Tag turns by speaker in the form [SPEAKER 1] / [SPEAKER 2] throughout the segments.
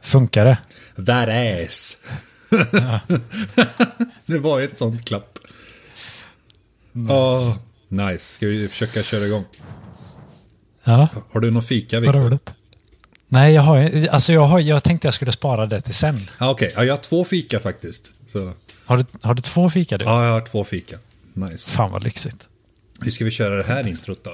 [SPEAKER 1] Funkar det?
[SPEAKER 2] That ass. det var ett sånt klapp. Nice. nice. Ska vi försöka köra igång?
[SPEAKER 1] Ja,
[SPEAKER 2] Har du någon fika,
[SPEAKER 1] vad
[SPEAKER 2] Viktor?
[SPEAKER 1] roligt. Nej, jag, har, alltså jag, har, jag tänkte jag skulle spara det till sen.
[SPEAKER 2] Ja, Ah, Okej, ja, jag har två fika faktiskt. Så,
[SPEAKER 1] Har du, har du två fika du?
[SPEAKER 2] ja, jag har två fika. Nice.
[SPEAKER 1] Fan vad lyxigt.
[SPEAKER 2] Hur ska vi köra det här introt då?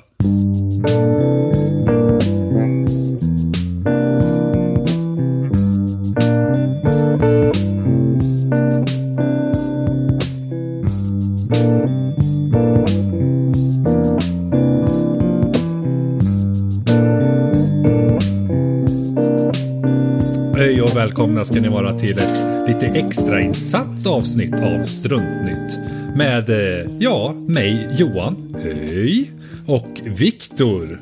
[SPEAKER 2] Hej och välkomna ska ni vara till ett lite extra insatt avsnitt av Struntnytt. Med, eh, ja, mig Johan Öj och Viktor.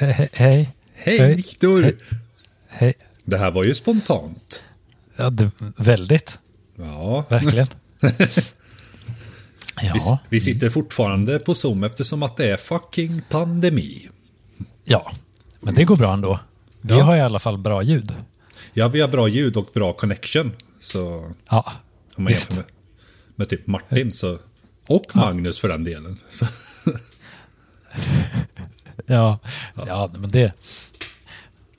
[SPEAKER 1] Eh, he- hej,
[SPEAKER 2] Hej
[SPEAKER 1] Hej.
[SPEAKER 2] Viktor!
[SPEAKER 1] Hej. hej.
[SPEAKER 2] Det här var ju spontant.
[SPEAKER 1] Ja, det, väldigt,
[SPEAKER 2] Ja,
[SPEAKER 1] verkligen.
[SPEAKER 2] vi,
[SPEAKER 1] ja,
[SPEAKER 2] vi sitter fortfarande på Zoom eftersom att det är fucking pandemi.
[SPEAKER 1] ja, men det går bra ändå. Vi
[SPEAKER 2] Ja.
[SPEAKER 1] har i alla fall bra ljud.
[SPEAKER 2] Ja, vi har bra ljud och bra connection. Så
[SPEAKER 1] Ja,
[SPEAKER 2] om man
[SPEAKER 1] visst.
[SPEAKER 2] jämför med, med typ Martin så, och Magnus för den delen. Så,
[SPEAKER 1] Ja, ja, men det...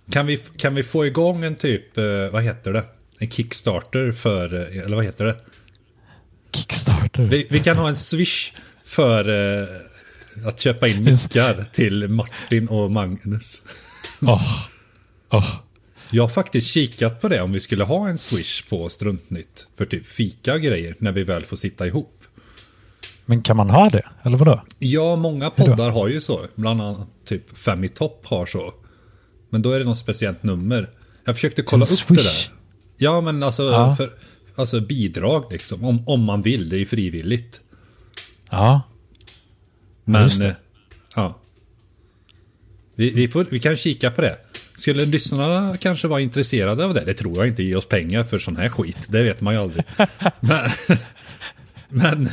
[SPEAKER 2] Kan vi, kan vi få igång en typ, eh, vad heter det? En Kickstarter för, eh, eller vad heter det?
[SPEAKER 1] Kickstarter.
[SPEAKER 2] Vi, vi kan ha en swish för eh, att köpa in mickar till Martin och Magnus.
[SPEAKER 1] Åh, åh.
[SPEAKER 2] Jag har faktiskt kikat på det om vi skulle ha en swish på Struntnytt. För typ fika och grejer när vi väl får sitta ihop.
[SPEAKER 1] Men kan man ha det? Eller vadå?
[SPEAKER 2] Ja, många poddar har ju så. Bland annat typ Fem i topp har så. Men då är det något speciellt nummer. Jag försökte kolla upp det
[SPEAKER 1] swish.
[SPEAKER 2] där. Ja, men alltså,
[SPEAKER 1] Ja.
[SPEAKER 2] För, alltså bidrag liksom. Om, om man vill, det är ju frivilligt.
[SPEAKER 1] Ja,
[SPEAKER 2] Men,
[SPEAKER 1] just det.
[SPEAKER 2] eh, ja. Vi, vi, får, vi kan kika på det. Skulle lyssnarna kanske vara intresserade av det? Det tror jag inte ger oss pengar för sån här skit. Det vet man ju aldrig. Men, men om,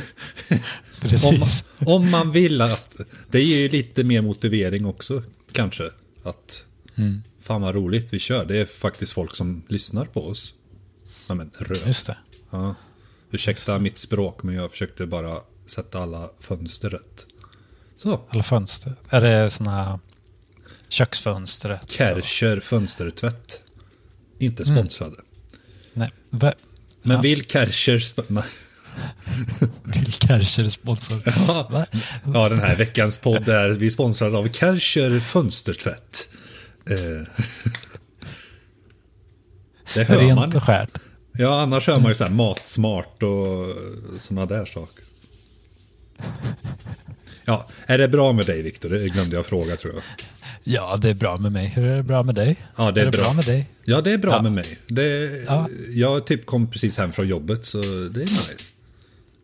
[SPEAKER 1] precis.
[SPEAKER 2] om man vill att... Det ger ju lite mer motivering också, kanske. Att
[SPEAKER 1] Mm.
[SPEAKER 2] fan vad roligt vi kör. Det är faktiskt folk som lyssnar på oss. Nej men röd.
[SPEAKER 1] Just det.
[SPEAKER 2] Ja. Ursäkta mitt språk, men jag försökte bara sätta alla fönster rätt. Så.
[SPEAKER 1] Alla fönster. Är det såna köksfönstret?
[SPEAKER 2] Kärcher fönstertvätt. Inte sponsrade.
[SPEAKER 1] Nej. Va?
[SPEAKER 2] Men
[SPEAKER 1] Mm. Ja.
[SPEAKER 2] vill Kärcher... sp- Nej.
[SPEAKER 1] Vilka är det sponsor? Va?
[SPEAKER 2] Ja, den här veckans podd är vi sponsrade av Kärcher fönstertvätt. Eh. Det hör
[SPEAKER 1] Rent
[SPEAKER 2] man.
[SPEAKER 1] och skärt.
[SPEAKER 2] Ja, annars hör man ju så här matsmart och sådana där saker. Ja, är det bra med dig Viktor? Det glömde jag fråga tror jag.
[SPEAKER 1] Ja, det är bra med mig. Hur är det bra med dig?
[SPEAKER 2] Ja, det är
[SPEAKER 1] det
[SPEAKER 2] bra.
[SPEAKER 1] bra med dig?
[SPEAKER 2] Ja, det är bra
[SPEAKER 1] Ja.
[SPEAKER 2] med mig. Det,
[SPEAKER 1] Ja.
[SPEAKER 2] Jag typ kom precis hem från jobbet så det är nice.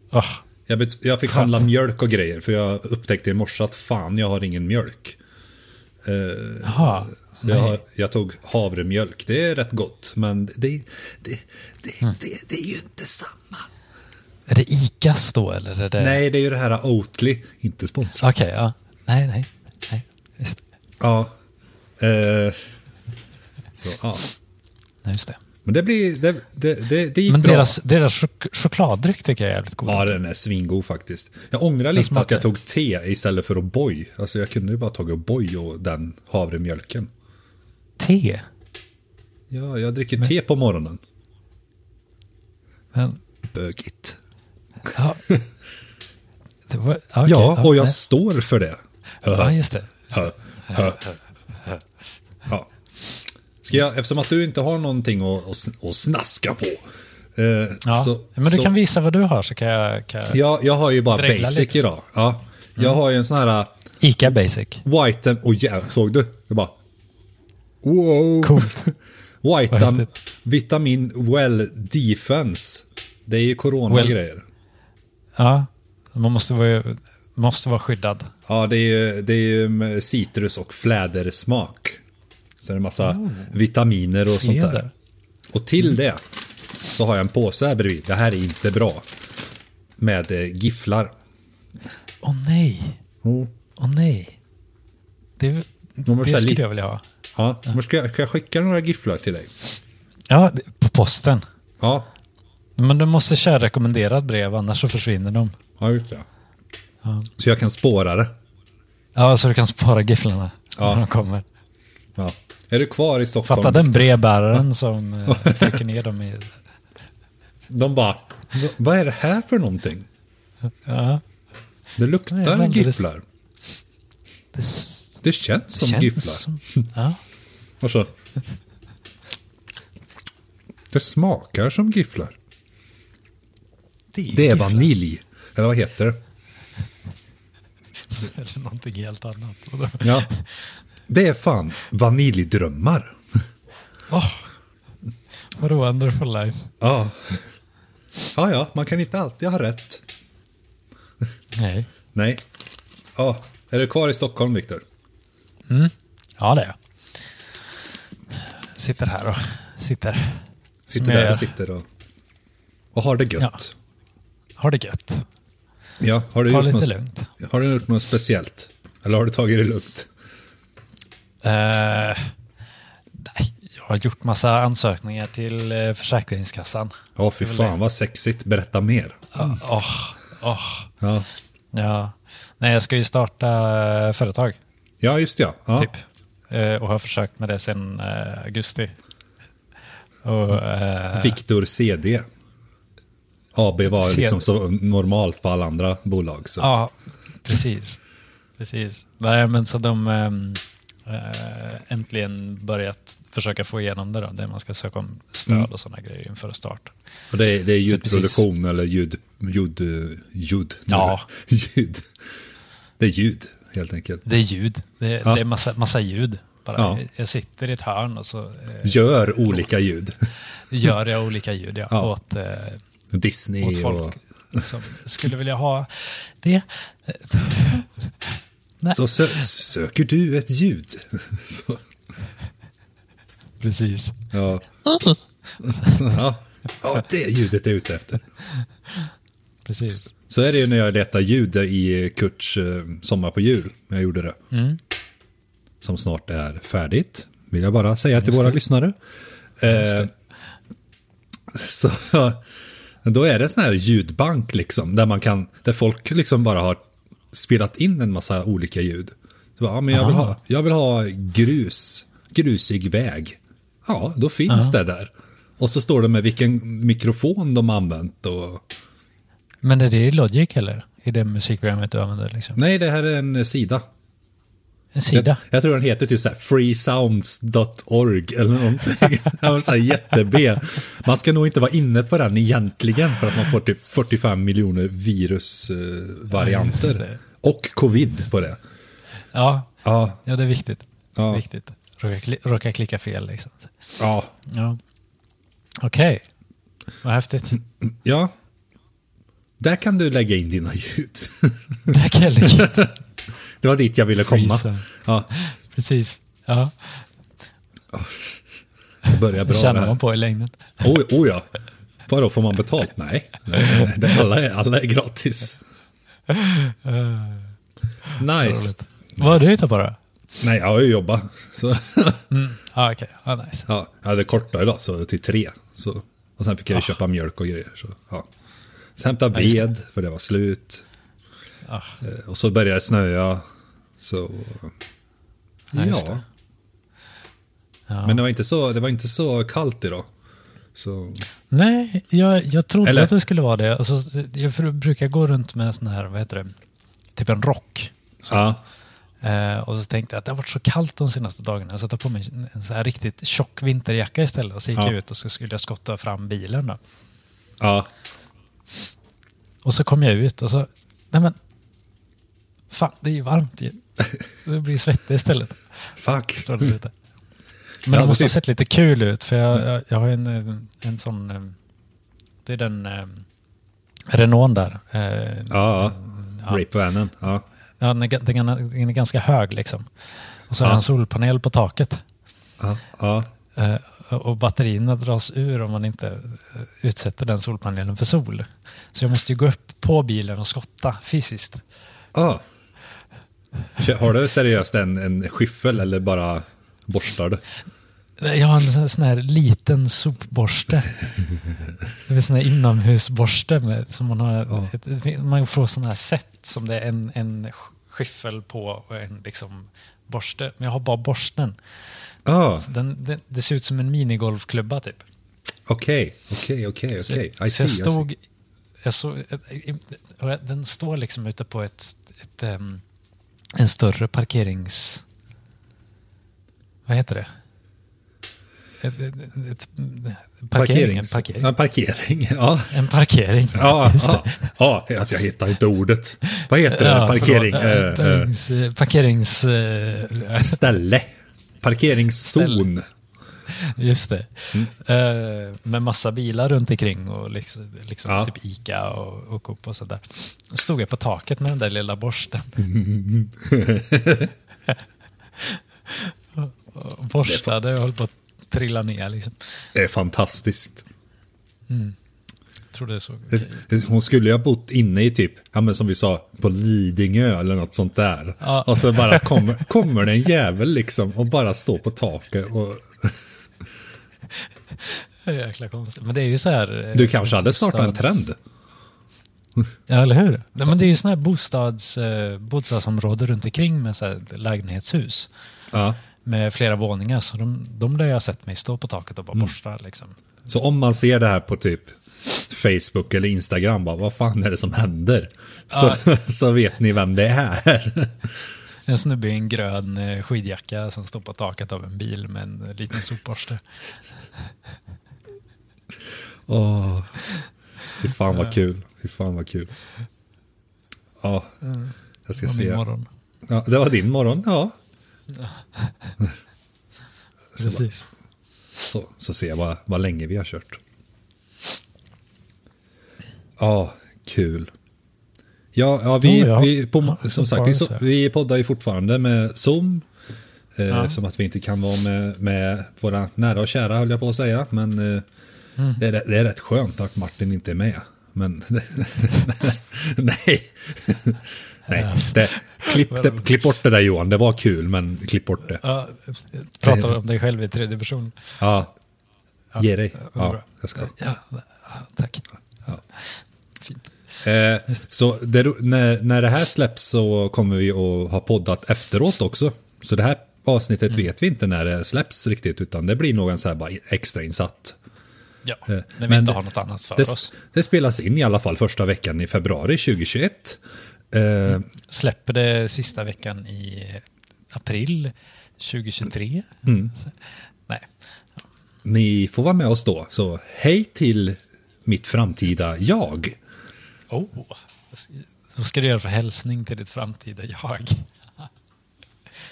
[SPEAKER 1] Åh,
[SPEAKER 2] Jag, bet- jag fick handla mjölk och grejer för jag upptäckte i morse att fan, jag har ingen mjölk.
[SPEAKER 1] Jaha.
[SPEAKER 2] Så jag, har- jag tog havremjölk, det är rätt gott, men det, det, det, det,
[SPEAKER 1] Mm.
[SPEAKER 2] det, det är ju inte samma.
[SPEAKER 1] Är det ICAs då eller? Är det...
[SPEAKER 2] Nej, det är ju det här Oatly, inte sponsrat.
[SPEAKER 1] Okej, ja. Nej, nej. nej. Just,
[SPEAKER 2] Ja. Eh, så, ja.
[SPEAKER 1] nej, just det.
[SPEAKER 2] Men det blir, det, det, det, det gick
[SPEAKER 1] Men
[SPEAKER 2] bra.
[SPEAKER 1] deras, deras chok- chokladdryck tycker jag är jävligt god.
[SPEAKER 2] Ja, den är svingod faktiskt. Jag ångrar lite att
[SPEAKER 1] smakar-
[SPEAKER 2] jag tog te istället för O'boy. Alltså jag kunde ju bara tagit O'boy och den havremjölken.
[SPEAKER 1] Te.
[SPEAKER 2] Ja, jag dricker te på morgonen.
[SPEAKER 1] Men,
[SPEAKER 2] Bögigt.
[SPEAKER 1] ja. Det var, okej,
[SPEAKER 2] Ja, och jag
[SPEAKER 1] nej.
[SPEAKER 2] står för det.
[SPEAKER 1] Ja, just det.
[SPEAKER 2] Hö, hö. Ja. Ska jag, eftersom att du inte har någonting att, att sn- att snaska på. eh,
[SPEAKER 1] Ja.
[SPEAKER 2] så-
[SPEAKER 1] men du
[SPEAKER 2] så-
[SPEAKER 1] kan visa vad du har så kan jag... Kan jag...
[SPEAKER 2] jag, jag har ju bara
[SPEAKER 1] Dregla
[SPEAKER 2] basic
[SPEAKER 1] lite. Mm.
[SPEAKER 2] idag. Ja. Jag har ju en sån här uh,
[SPEAKER 1] Ica Basic.
[SPEAKER 2] white and... Oh, yeah, såg du? Jag bara... Wow!
[SPEAKER 1] Coolt. Vad
[SPEAKER 2] white and,
[SPEAKER 1] häftigt.
[SPEAKER 2] vitamin well defense. Det är ju corona-grejer.
[SPEAKER 1] Ja, man måste vara, måste vara skyddad.
[SPEAKER 2] Ja, det är ju, det är ju med citrus och flädersmak. Så är det massa vitaminer och sånt där.
[SPEAKER 1] Mm. Fläder.
[SPEAKER 2] Och till det så har jag en påse här bredvid. Det här är inte bra. Med eh, gifflar. Mm.
[SPEAKER 1] Åh nej, åh nej. Det,
[SPEAKER 2] De är så
[SPEAKER 1] det
[SPEAKER 2] här
[SPEAKER 1] skulle
[SPEAKER 2] li-
[SPEAKER 1] jag vilja ha.
[SPEAKER 2] Ja, men ska, jag, ska jag skicka några gifflar till dig?
[SPEAKER 1] Ja, det- på posten.
[SPEAKER 2] Ja,
[SPEAKER 1] Men du måste köra rekommenderat brev, annars så försvinner de.
[SPEAKER 2] ja just det. Så jag kan spåra det.
[SPEAKER 1] Ja, så du kan spara gifflarna när de kommer.
[SPEAKER 2] Ja. Är du kvar i Stockholm?
[SPEAKER 1] Fatta den brevbäraren som eh, trycker ner dem i...
[SPEAKER 2] De bara, "Va- vad är det här för någonting?
[SPEAKER 1] Ja,
[SPEAKER 2] Det
[SPEAKER 1] Nej, men
[SPEAKER 2] luktar
[SPEAKER 1] det-
[SPEAKER 2] gifflar.
[SPEAKER 1] det s-
[SPEAKER 2] Det känns som
[SPEAKER 1] känns
[SPEAKER 2] gifflar.
[SPEAKER 1] som... Ja.
[SPEAKER 2] Och så. Det smakar som gifflar. Det är vanilj. Eller vad heter det?
[SPEAKER 1] Så är det någonting helt annat. Och då-
[SPEAKER 2] Ja. Det är fan vaniljdrömmar.
[SPEAKER 1] Åh, What a wonderful life.
[SPEAKER 2] Ja. Ja, ja, man kan inte alltid ha rätt.
[SPEAKER 1] Nej.
[SPEAKER 2] Nej. Ja, är du kvar i Stockholm, Viktor?
[SPEAKER 1] Ja, det är jag. Sitter här och sitter.
[SPEAKER 2] Sitter
[SPEAKER 1] Som jag
[SPEAKER 2] där
[SPEAKER 1] gör.
[SPEAKER 2] och sitter och, och har det gött.
[SPEAKER 1] Har det gött.
[SPEAKER 2] Ja, har du
[SPEAKER 1] Ta
[SPEAKER 2] gjort
[SPEAKER 1] lite
[SPEAKER 2] något,
[SPEAKER 1] lugnt.
[SPEAKER 2] Har du gjort något speciellt? Eller har du tagit det lugnt?
[SPEAKER 1] Eh, nej, jag har gjort massa ansökningar till eh, Försäkringskassan.
[SPEAKER 2] Ja, fy fan vad sexigt. Berätta mer.
[SPEAKER 1] Åh, åh.
[SPEAKER 2] Ja,
[SPEAKER 1] Ja. Nej, jag ska ju starta eh, företag,
[SPEAKER 2] ja just det, ja. ja.
[SPEAKER 1] typ. Eh, och har försökt med det sedan eh, augusti. Och, eh,
[SPEAKER 2] Viktor CD. AB var
[SPEAKER 1] CD.
[SPEAKER 2] liksom så normalt på alla andra bolag. Så.
[SPEAKER 1] Ja, precis. Precis. Nej, men så de ehm, eh, äntligen börjat försöka få igenom det då, där man ska söka om stöd och sådana grejer inför start.
[SPEAKER 2] Och det, är, det är ljudproduktion
[SPEAKER 1] precis.
[SPEAKER 2] eller ljud... Ljud... eh, ljud nu.
[SPEAKER 1] Ja.
[SPEAKER 2] ljud. Det är ljud, helt enkelt.
[SPEAKER 1] Det är ljud. Det,
[SPEAKER 2] Ja.
[SPEAKER 1] det är massa, massa ljud. Bara,
[SPEAKER 2] Ja.
[SPEAKER 1] Jag sitter i ett hörn och så eh,
[SPEAKER 2] Gör olika ljud.
[SPEAKER 1] gör jag olika ljud ja,
[SPEAKER 2] Ja.
[SPEAKER 1] åt, eh, åt
[SPEAKER 2] Disney och...
[SPEAKER 1] folk som skulle vilja ha det.
[SPEAKER 2] Så sö söker du ett ljud? Så,
[SPEAKER 1] Precis.
[SPEAKER 2] ja. ja. Ja, det ljudet är jag ute efter.
[SPEAKER 1] Precis.
[SPEAKER 2] Så är det ju när jag letar ljud där i Kurts eh, Sommar på jul. när Jag gjorde det. Som snart är färdigt. Vill jag bara säga till våra lyssnare. Eh, så då är det en sån här ljudbank liksom. Där man kan, där folk liksom bara har spelat in en massa olika ljud. Så bara, ja, men jag, vill ha, jag vill ha grus, grusig väg. Ja, då finns det där. Och så står det med vilken mikrofon de använt och
[SPEAKER 1] Men är det Logic eller? I det musikprogrammet du använder? Liksom?
[SPEAKER 2] Nej, det här är en eh, sida.
[SPEAKER 1] En sida?
[SPEAKER 2] Jag, jag tror den heter typ så här freesounds.org eller någonting. Den var så här jätte-B. Man ska nog inte vara inne på den egentligen för att man får typ 45 miljoner
[SPEAKER 1] Ja,
[SPEAKER 2] virusvarianter.
[SPEAKER 1] just det.
[SPEAKER 2] och covid på det.
[SPEAKER 1] Ja,
[SPEAKER 2] Ja,
[SPEAKER 1] Ja, det är viktigt.
[SPEAKER 2] Ja.
[SPEAKER 1] viktigt. Råka, kli- råka klicka fel liksom.
[SPEAKER 2] ja.
[SPEAKER 1] Ja. Okej, vad häftigt.
[SPEAKER 2] ja. Där kan du lägga in dina ljud.
[SPEAKER 1] Det här kan jag lägga.
[SPEAKER 2] Det var dit jag ville komma.
[SPEAKER 1] Freesound.
[SPEAKER 2] Ja,
[SPEAKER 1] Precis. Ja,
[SPEAKER 2] det börjar
[SPEAKER 1] det
[SPEAKER 2] bra det
[SPEAKER 1] tjänar man
[SPEAKER 2] här.
[SPEAKER 1] på i längden.
[SPEAKER 2] Oh, oh ja. Vadå, får man betalt? Nej, Nej, nej. alla, är, alla är gratis. Nice.
[SPEAKER 1] Vad har du hittat på då?
[SPEAKER 2] Nej, jag har ju jobbat. Så,
[SPEAKER 1] Ah, Okej, ah, nice.
[SPEAKER 2] ja, jag hade kortare idag, så till tre. Så, och sen fick jag ju köpa mjölk och grejer. Så, ja. Sen hämtade
[SPEAKER 1] Ah. just
[SPEAKER 2] ved, för det var slut.
[SPEAKER 1] Ah.
[SPEAKER 2] Eh, Och så började det snöa. Så,
[SPEAKER 1] Ja, just
[SPEAKER 2] ja.
[SPEAKER 1] det. Ja.
[SPEAKER 2] Men det var, inte så, det var inte så kallt idag. Så,
[SPEAKER 1] Nej, jag, jag trodde
[SPEAKER 2] Eller?
[SPEAKER 1] att det skulle vara det. Alltså, jag för- brukar gå runt med en sån här, vad heter det, typ en rock.
[SPEAKER 2] ja,
[SPEAKER 1] Eh, och så tänkte jag att det har varit så kallt de senaste dagarna så jag tar på mig en sån här riktigt tjock vinterjacka istället. Och så gick
[SPEAKER 2] Ja.
[SPEAKER 1] jag ut och så skulle jag skotta fram bilen då.
[SPEAKER 2] ja,
[SPEAKER 1] Och så kom jag ut och så, nej men, fan det är ju varmt ju. Det blir svettig istället.
[SPEAKER 2] fuck.
[SPEAKER 1] Står det ute. Men
[SPEAKER 2] Ja,
[SPEAKER 1] det måste ha
[SPEAKER 2] precis.
[SPEAKER 1] sett lite kul ut för jag, jag, jag har ju en, eh, en sån, eh, det är den eh, Renault där. Eh,
[SPEAKER 2] Ja, ja.
[SPEAKER 1] Ja.
[SPEAKER 2] Rape vanen. Ja.
[SPEAKER 1] ja, den, är, ga- den är- den är ganska hög liksom. Och så har jag en solpanel på taket.
[SPEAKER 2] Ja, ja.
[SPEAKER 1] Eh, och batterierna dras ur om man inte eh, utsätter den solpanelen för sol. Så jag måste ju gå upp på bilen och skotta fysiskt.
[SPEAKER 2] Ah. Ja. Kö- Har du seriöst en, en skyffel eller bara Borstar du?
[SPEAKER 1] Jag har en sån- sån här liten sopborste. Det är en sån här inomhusborste med, som man har. Man får såna här set som det är en, en skyffel på och en liksom borste. Men jag har bara borsten.
[SPEAKER 2] Ah,
[SPEAKER 1] Så den, den, det ser ut som en minigolfklubba typ.
[SPEAKER 2] okej, okej, okej,
[SPEAKER 1] Så,
[SPEAKER 2] okej. I
[SPEAKER 1] så jag
[SPEAKER 2] see, I see.
[SPEAKER 1] stod... Jag såg, och jag- den står liksom ute på ett, ett, em, en större parkerings... Vad heter det? Ett, ett, ett, parkering, En
[SPEAKER 2] Parkerings-
[SPEAKER 1] parkering.
[SPEAKER 2] Ja, parkering. Ja,
[SPEAKER 1] En parkering.
[SPEAKER 2] ja,
[SPEAKER 1] Just det.
[SPEAKER 2] ja, ja, att jag hittar inte ordet. Vad heter det?
[SPEAKER 1] Ja,
[SPEAKER 2] Parkering?
[SPEAKER 1] förlåt.
[SPEAKER 2] eh,
[SPEAKER 1] Eh,
[SPEAKER 2] eh,
[SPEAKER 1] parkerings... eh, parkerings eh,
[SPEAKER 2] ställe. Parkeringszon.
[SPEAKER 1] Just det.
[SPEAKER 2] Mm.
[SPEAKER 1] Eh, med massa bilar runt omkring och liksom, liksom
[SPEAKER 2] Ja.
[SPEAKER 1] typ Ica och, och Coop och sådär. Då stod jag på taket med den där lilla borsten. och och borstade och höll på att trilla ner. Liksom.
[SPEAKER 2] Det är fantastiskt.
[SPEAKER 1] Jag tror det såg...
[SPEAKER 2] Hon skulle ju ha bott inne i typ, ja men som vi sa, på Lidingö eller något sånt där.
[SPEAKER 1] Ja.
[SPEAKER 2] Och så bara kommer, kommer det en jävel liksom och bara står på taket och
[SPEAKER 1] Det är Jäkla konstigt. Men det är ju så här... eh,
[SPEAKER 2] du kanske hade startat en
[SPEAKER 1] bostads-
[SPEAKER 2] trend.
[SPEAKER 1] Ja, eller hur? Nej, men det är ju såna här bostads, eh, bostadsområden runt omkring med så här lägenhetshus.
[SPEAKER 2] Ja.
[SPEAKER 1] Med flera våningar. Så de, de där jag har sett mig stå på taket och bara
[SPEAKER 2] Mm.
[SPEAKER 1] borsta. Liksom.
[SPEAKER 2] Så om man ser det här på typ Facebook eller Instagram, bara, vad fan är det som händer? Så, så vet ni vem det är.
[SPEAKER 1] En snubbe i en grön eh, skidjacka som står på taket av en bil med en eh, liten sopborste.
[SPEAKER 2] Åh, fy fan vad kul. Fy fan vad kul. Ja, jag ska
[SPEAKER 1] Om
[SPEAKER 2] se.
[SPEAKER 1] imorgon.
[SPEAKER 2] Ja, det var din morgon, ja.
[SPEAKER 1] Precis.
[SPEAKER 2] Så, så ser jag vad, vad länge vi har kört. Ja, kul. Ja, ja, vi,
[SPEAKER 1] Oh, ja.
[SPEAKER 2] vi på,
[SPEAKER 1] Ja, så
[SPEAKER 2] som sagt, vi,
[SPEAKER 1] bra
[SPEAKER 2] so-
[SPEAKER 1] så.
[SPEAKER 2] vi poddar ju fortfarande med Zoom. Eh, Eftersom att vi inte kan vara med, med våra nära och kära, höll jag på att säga. Men eh,
[SPEAKER 1] Mm.
[SPEAKER 2] det, är, rä- det är rätt skönt att Martin inte är med. Men nej, nej. Det, klipp, det, klipp bort det där Johan, det var kul men klipp bort det.
[SPEAKER 1] Ja, eh, pratar om dig själv i tredje person.
[SPEAKER 2] Ja,
[SPEAKER 1] uh,
[SPEAKER 2] ge dig.
[SPEAKER 1] vad
[SPEAKER 2] Ja,
[SPEAKER 1] bra.
[SPEAKER 2] jag ska.
[SPEAKER 1] Ja, ja, tack.
[SPEAKER 2] Ja.
[SPEAKER 1] Fint.
[SPEAKER 2] Eh, så det, ro- när, när det här släpps så kommer vi att ha poddat efteråt också. Så det här avsnittet
[SPEAKER 1] Mm.
[SPEAKER 2] vet vi inte när det släpps riktigt utan det blir nog en så här bara extrainsatt.
[SPEAKER 1] Ja, när vi
[SPEAKER 2] Eh, men
[SPEAKER 1] inte
[SPEAKER 2] det-
[SPEAKER 1] har något annat för
[SPEAKER 2] Det,
[SPEAKER 1] oss.
[SPEAKER 2] det spelas in i alla fall första veckan i februari 2021. Eh,
[SPEAKER 1] Mm. Släpper det sista veckan i april 2023.
[SPEAKER 2] Mm.
[SPEAKER 1] Så, nej.
[SPEAKER 2] Ni får vara med oss då, så hej till mitt framtida jag.
[SPEAKER 1] Oh, vad ska du göra för hälsning till ditt framtida jag?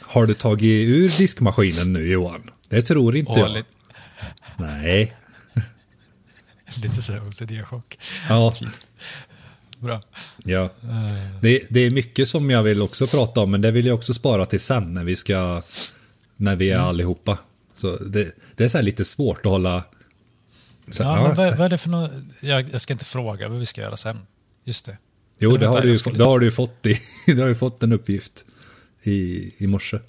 [SPEAKER 2] Har du tagit ur diskmaskinen nu Johan? Det tror inte
[SPEAKER 1] Och
[SPEAKER 2] jag.
[SPEAKER 1] lite,
[SPEAKER 2] Nej.
[SPEAKER 1] lite så här OCD-chock.
[SPEAKER 2] Ja,
[SPEAKER 1] Bra.
[SPEAKER 2] Ja. Det, det är mycket som jag vill också prata om, men det vill jag också spara till sen när vi ska... När vi är
[SPEAKER 1] Mm.
[SPEAKER 2] allihopa. Så det, det är så här lite svårt att hålla... Så,
[SPEAKER 1] Ja,
[SPEAKER 2] ja,
[SPEAKER 1] men vad, vad är det för något? Jag, jag ska inte fråga vad vi ska göra sen. Just det.
[SPEAKER 2] jo, det har,
[SPEAKER 1] vänta,
[SPEAKER 2] du, ju
[SPEAKER 1] jag
[SPEAKER 2] få-
[SPEAKER 1] skulle-
[SPEAKER 2] det har du ju fått i... det har ju fått en uppgift i, i morse.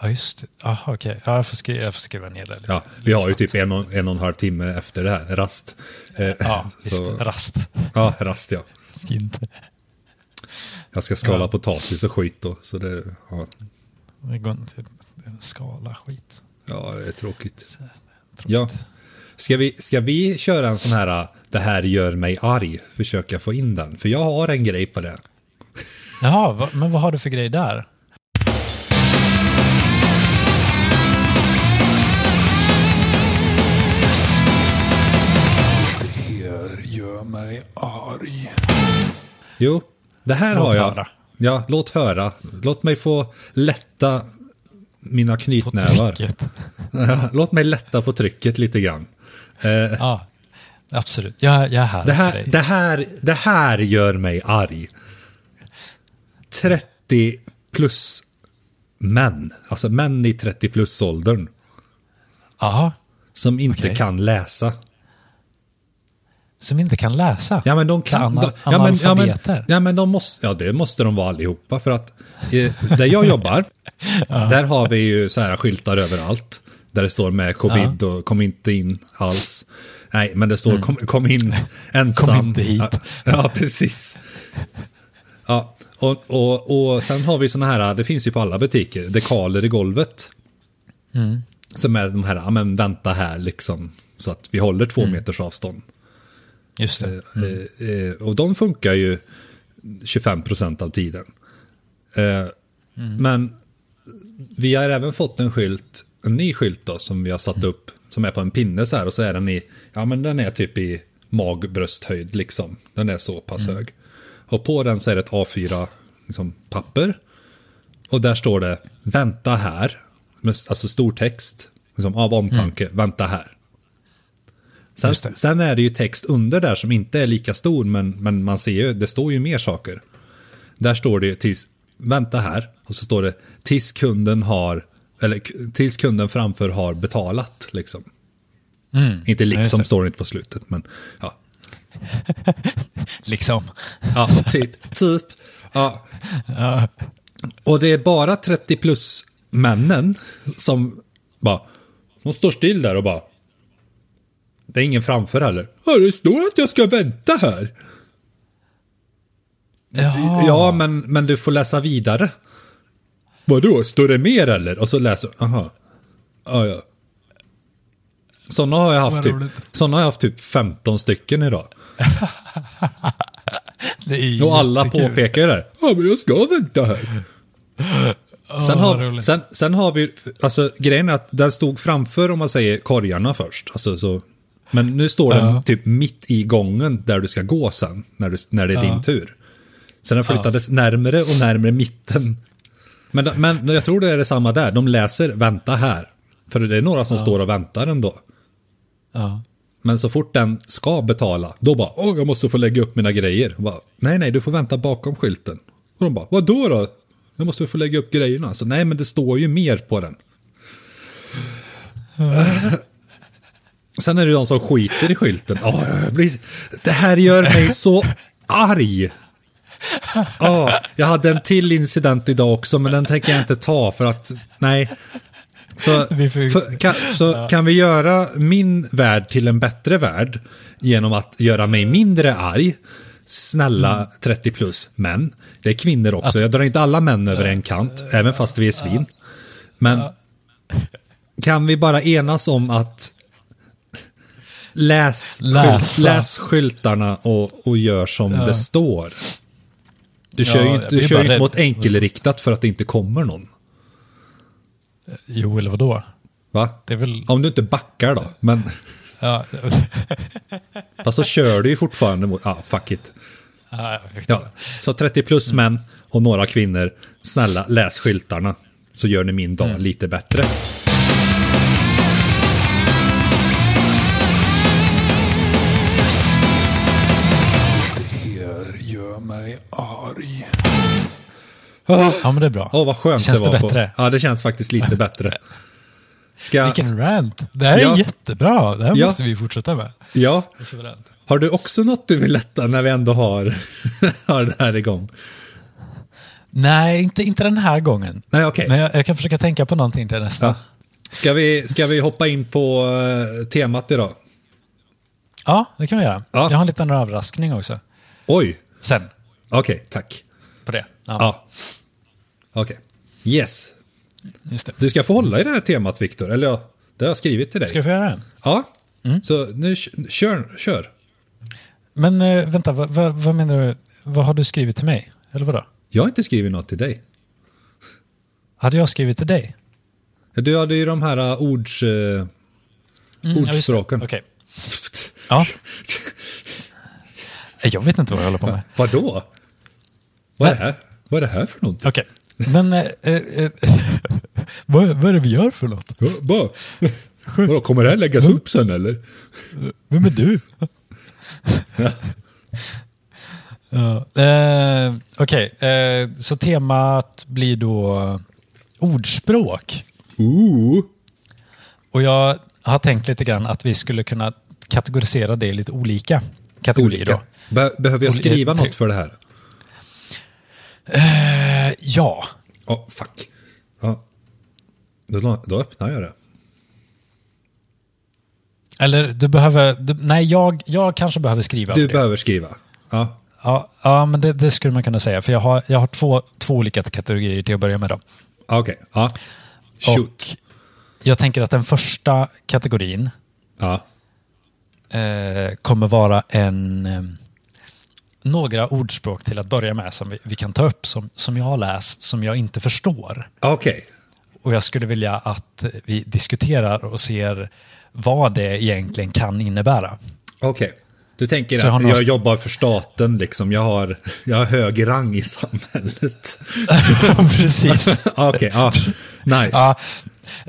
[SPEAKER 1] Ja, just det. Jaha, okej. Ja, jag får skriva, jag får skriva ner det lite.
[SPEAKER 2] Ja, vi har ju typ en och en, och en halv timme efter det här, rast. Eh,
[SPEAKER 1] Ja, visst.
[SPEAKER 2] så-
[SPEAKER 1] Rast.
[SPEAKER 2] ja, rast ja.
[SPEAKER 1] Fint.
[SPEAKER 2] Jag ska skala potatis och skit då, så det... Ja,
[SPEAKER 1] Det går inte. det är en Skala, skit.
[SPEAKER 2] ja det är tråkigt.
[SPEAKER 1] Tråkigt.
[SPEAKER 2] Ja. Ska vi, ska vi köra en sån här, äh, det här gör mig arg, försöka få in den? För jag har en grej på det.
[SPEAKER 1] Jaha, va, men vad har du för grej där?
[SPEAKER 2] Jo, det här
[SPEAKER 1] Låt
[SPEAKER 2] har jag.
[SPEAKER 1] höra.
[SPEAKER 2] Ja, låt höra. Låt mig få lätta mina
[SPEAKER 1] På
[SPEAKER 2] knytnävar.
[SPEAKER 1] trycket.
[SPEAKER 2] låt mig lätta på trycket lite grann.
[SPEAKER 1] Ja, absolut. Jag, jag är här,
[SPEAKER 2] Det
[SPEAKER 1] för
[SPEAKER 2] här,
[SPEAKER 1] dig.
[SPEAKER 2] det här, det här gör mig arg. 30 plus män, alltså män i 30 plus åldern,
[SPEAKER 1] Jaha,
[SPEAKER 2] som inte
[SPEAKER 1] Okej.
[SPEAKER 2] kan läsa.
[SPEAKER 1] som inte kan läsa.
[SPEAKER 2] Ja men de kan...
[SPEAKER 1] Ana-
[SPEAKER 2] De, ja, men, ja, men,
[SPEAKER 1] analfabeter.
[SPEAKER 2] ja, men de måste... Ja, det måste de vara allihopa för att eh, där jag jobbar, där har vi ju så här skyltar överallt. Där det står med covid och kom inte in alls. Nej, men det står kom, kom in ensam.
[SPEAKER 1] Mm. Kom inte hit.
[SPEAKER 2] Ja, ja precis. Ja, och, och, och sen har vi såna här, det finns ju på alla butiker, dekaler i golvet.
[SPEAKER 1] Mm.
[SPEAKER 2] Som är de här, ja men vänta här liksom. Så att vi håller två
[SPEAKER 1] Mm.
[SPEAKER 2] meters avstånd.
[SPEAKER 1] Just det.
[SPEAKER 2] Eh, eh, och de funkar ju 25% av tiden. Eh, Men vi har även fått en skylt, en ny skylt då, som vi har satt upp, som är på en pinne så här och så är den i, ja men den är typ i magbrösthöjd liksom. Den är så pass hög. Och på den så är det ett A4 liksom, papper. Och där står det vänta här, med, alltså stor text, liksom, av omtanke, vänta här. Sen,
[SPEAKER 1] Just det.
[SPEAKER 2] sen är det ju text under där som inte är lika stor, men, men man ser ju, det står ju mer saker. Där står det ju tills, vänta här, och så står det tills kunden har, eller k- tills kunden framför har betalat liksom. Inte
[SPEAKER 1] Mm. just
[SPEAKER 2] liksom
[SPEAKER 1] det.
[SPEAKER 2] står det inte på slutet, men ja.
[SPEAKER 1] Liksom.
[SPEAKER 2] Ja, typ. typ. Ja. Och det är bara 30 plus männen som bara, de står still där och bara. Det är ingen framför heller. Ja, det står att jag ska vänta här.
[SPEAKER 1] Ja.
[SPEAKER 2] Ja, men, men du får läsa vidare. Vadå, står det mer eller? Och så läser aha. Ja, ja. Sådana har jag haft
[SPEAKER 1] Vad
[SPEAKER 2] typ,
[SPEAKER 1] roligt.
[SPEAKER 2] såna har jag haft typ 15 stycken idag.
[SPEAKER 1] Det är
[SPEAKER 2] Och alla
[SPEAKER 1] jättekul.
[SPEAKER 2] påpekar ju det här. Ja, men jag ska vänta här.
[SPEAKER 1] vad
[SPEAKER 2] Sen har,
[SPEAKER 1] roligt.
[SPEAKER 2] sen, sen har vi, alltså grejen är att den stod framför om man säger korgarna först. Alltså, så, men nu står den typ mitt i gången där du ska gå sen, när, du, när det är din tur. Sen den flyttades närmare och närmare mitten. Men, men jag tror det är detsamma där, de läser vänta här. För det är några som står och väntar ändå.
[SPEAKER 1] Ja.
[SPEAKER 2] Men så fort den ska betala, då bara åh, jag måste få lägga upp mina grejer. Och Bara, nej, nej, du får vänta bakom skylten. Och de bara, vadå då? Jag måste få lägga upp grejerna. Så nej, men det står ju mer på den. Sen är det de som skiter i skylten. Åh, jag blir... Det här gör mig så arg. Ja, jag hade en till incident idag också, men den tänker jag inte ta för att, nej. Så,
[SPEAKER 1] Vi får ju-
[SPEAKER 2] för, kan, så kan vi göra min värld till en bättre värld genom att göra mig mindre arg? Snälla 30 plus män. Det är kvinnor också. Jag drar inte alla män över en kant, även fast vi är svin. Men kan vi bara enas om att läs, skylt,
[SPEAKER 1] Läsa.
[SPEAKER 2] läs skyltarna och, och gör som det står? Du kör ju
[SPEAKER 1] jag
[SPEAKER 2] inte-
[SPEAKER 1] blir
[SPEAKER 2] du kör
[SPEAKER 1] bara
[SPEAKER 2] ju inte
[SPEAKER 1] rädd.
[SPEAKER 2] mot enkelriktat för att det inte kommer någon.
[SPEAKER 1] Jo, eller vadå?
[SPEAKER 2] Va?
[SPEAKER 1] Det är väl...
[SPEAKER 2] Om du inte backar då. Men,
[SPEAKER 1] Ja.
[SPEAKER 2] fast så kör du ju fortfarande mot... Ah, fuck it.
[SPEAKER 1] Ja, jag fick det.
[SPEAKER 2] Ja, så 30 plus
[SPEAKER 1] Mm.
[SPEAKER 2] män och några kvinnor. Snälla, läs skyltarna. Så gör ni min
[SPEAKER 1] Mm.
[SPEAKER 2] dag lite bättre.
[SPEAKER 3] Det gör mig arg.
[SPEAKER 1] ja, men det är bra.
[SPEAKER 2] Åh, vad skönt
[SPEAKER 1] Känns
[SPEAKER 2] det var.
[SPEAKER 1] det bättre?
[SPEAKER 2] På. Ja, det känns faktiskt lite bättre. Ska,
[SPEAKER 1] Vilken rant. Det här är
[SPEAKER 2] Ja.
[SPEAKER 1] jättebra. Det här
[SPEAKER 2] Ja.
[SPEAKER 1] måste vi fortsätta med.
[SPEAKER 2] ja,
[SPEAKER 1] Det är suveränt.
[SPEAKER 2] Har du också något du vill lätta när vi ändå har, har det här igång?
[SPEAKER 1] Nej, inte, inte den här gången.
[SPEAKER 2] Nej, okej.
[SPEAKER 1] Men jag, jag kan försöka tänka på någonting till nästa.
[SPEAKER 2] Ja.
[SPEAKER 1] Ja,
[SPEAKER 2] Ska, vi, ska vi hoppa in på eh, temat idag?
[SPEAKER 1] det kan vi göra.
[SPEAKER 2] Ja.
[SPEAKER 1] Jag har en liten överraskning också.
[SPEAKER 2] Oj,
[SPEAKER 1] Sen,
[SPEAKER 2] okej, tack.
[SPEAKER 1] på det. Ja,
[SPEAKER 2] Ja. Okej. Yes.
[SPEAKER 1] Just det.
[SPEAKER 2] Du ska få hålla i det här temat, Viktor. Eller ja, det har jag skrivit till dig.
[SPEAKER 1] Ska jag få Mm. göra den?
[SPEAKER 2] Ja. Så nu k- kör. kör.
[SPEAKER 1] Men eh, vänta, vad, vad, vad menar du? Vad har du skrivit till mig? Eller vadå?
[SPEAKER 2] Jag har inte skrivit något till dig.
[SPEAKER 1] Hade jag skrivit till dig?
[SPEAKER 2] Du hade ju de här eh, ords... eh,
[SPEAKER 1] Mm, ja, just det.
[SPEAKER 2] ordspråken.
[SPEAKER 1] Okej. Ja. Eh, Jag vet inte vad jag håller på med.
[SPEAKER 2] Vadå? Vad är, det här? Vad är det här för någonting?
[SPEAKER 1] Okej. Men eh, eh, eh, vad, vad är det vi gör för något?
[SPEAKER 2] Ja, bara- Vadå, kommer det här läggas upp sen eller?
[SPEAKER 1] Vem är du? Ja, eh, Okej, eh, så temat blir då ordspråk.
[SPEAKER 2] Ooh.
[SPEAKER 1] Och jag har tänkt lite grann att vi skulle kunna kategorisera det lite olika. kategori då.
[SPEAKER 2] Be- behöver jag
[SPEAKER 1] Olika
[SPEAKER 2] skriva
[SPEAKER 1] typ.
[SPEAKER 2] något för det här?
[SPEAKER 1] Eh, Ja,
[SPEAKER 2] Ja, fuck. Ja. Då, la- då öppnar jag det.
[SPEAKER 1] eller du behöver... Du, nej, jag, jag kanske behöver skriva.
[SPEAKER 2] Du
[SPEAKER 1] för det.
[SPEAKER 2] behöver skriva. Ja.
[SPEAKER 1] Ja, ja men det, det skulle man kunna säga. För jag har, jag har två, två olika kategorier till att börja med. Då.
[SPEAKER 2] Ja, Okej. Ja.
[SPEAKER 1] Och
[SPEAKER 2] Shoot.
[SPEAKER 1] jag tänker att den första kategorin
[SPEAKER 2] Ja.
[SPEAKER 1] eh, kommer vara en... Eh, några ordspråk till att börja med som vi, vi kan ta upp, som, som jag har läst, som jag inte förstår.
[SPEAKER 2] Okej.
[SPEAKER 1] Och jag skulle vilja att vi diskuterar och ser vad det egentligen kan innebära.
[SPEAKER 2] Okej. Du tänker
[SPEAKER 1] Så jag
[SPEAKER 2] att
[SPEAKER 1] har
[SPEAKER 2] jag
[SPEAKER 1] några-
[SPEAKER 2] jobbar för staten, liksom. Jag har, jag har hög rang i samhället.
[SPEAKER 1] Precis.
[SPEAKER 2] Ja, Okej, ja. Nice.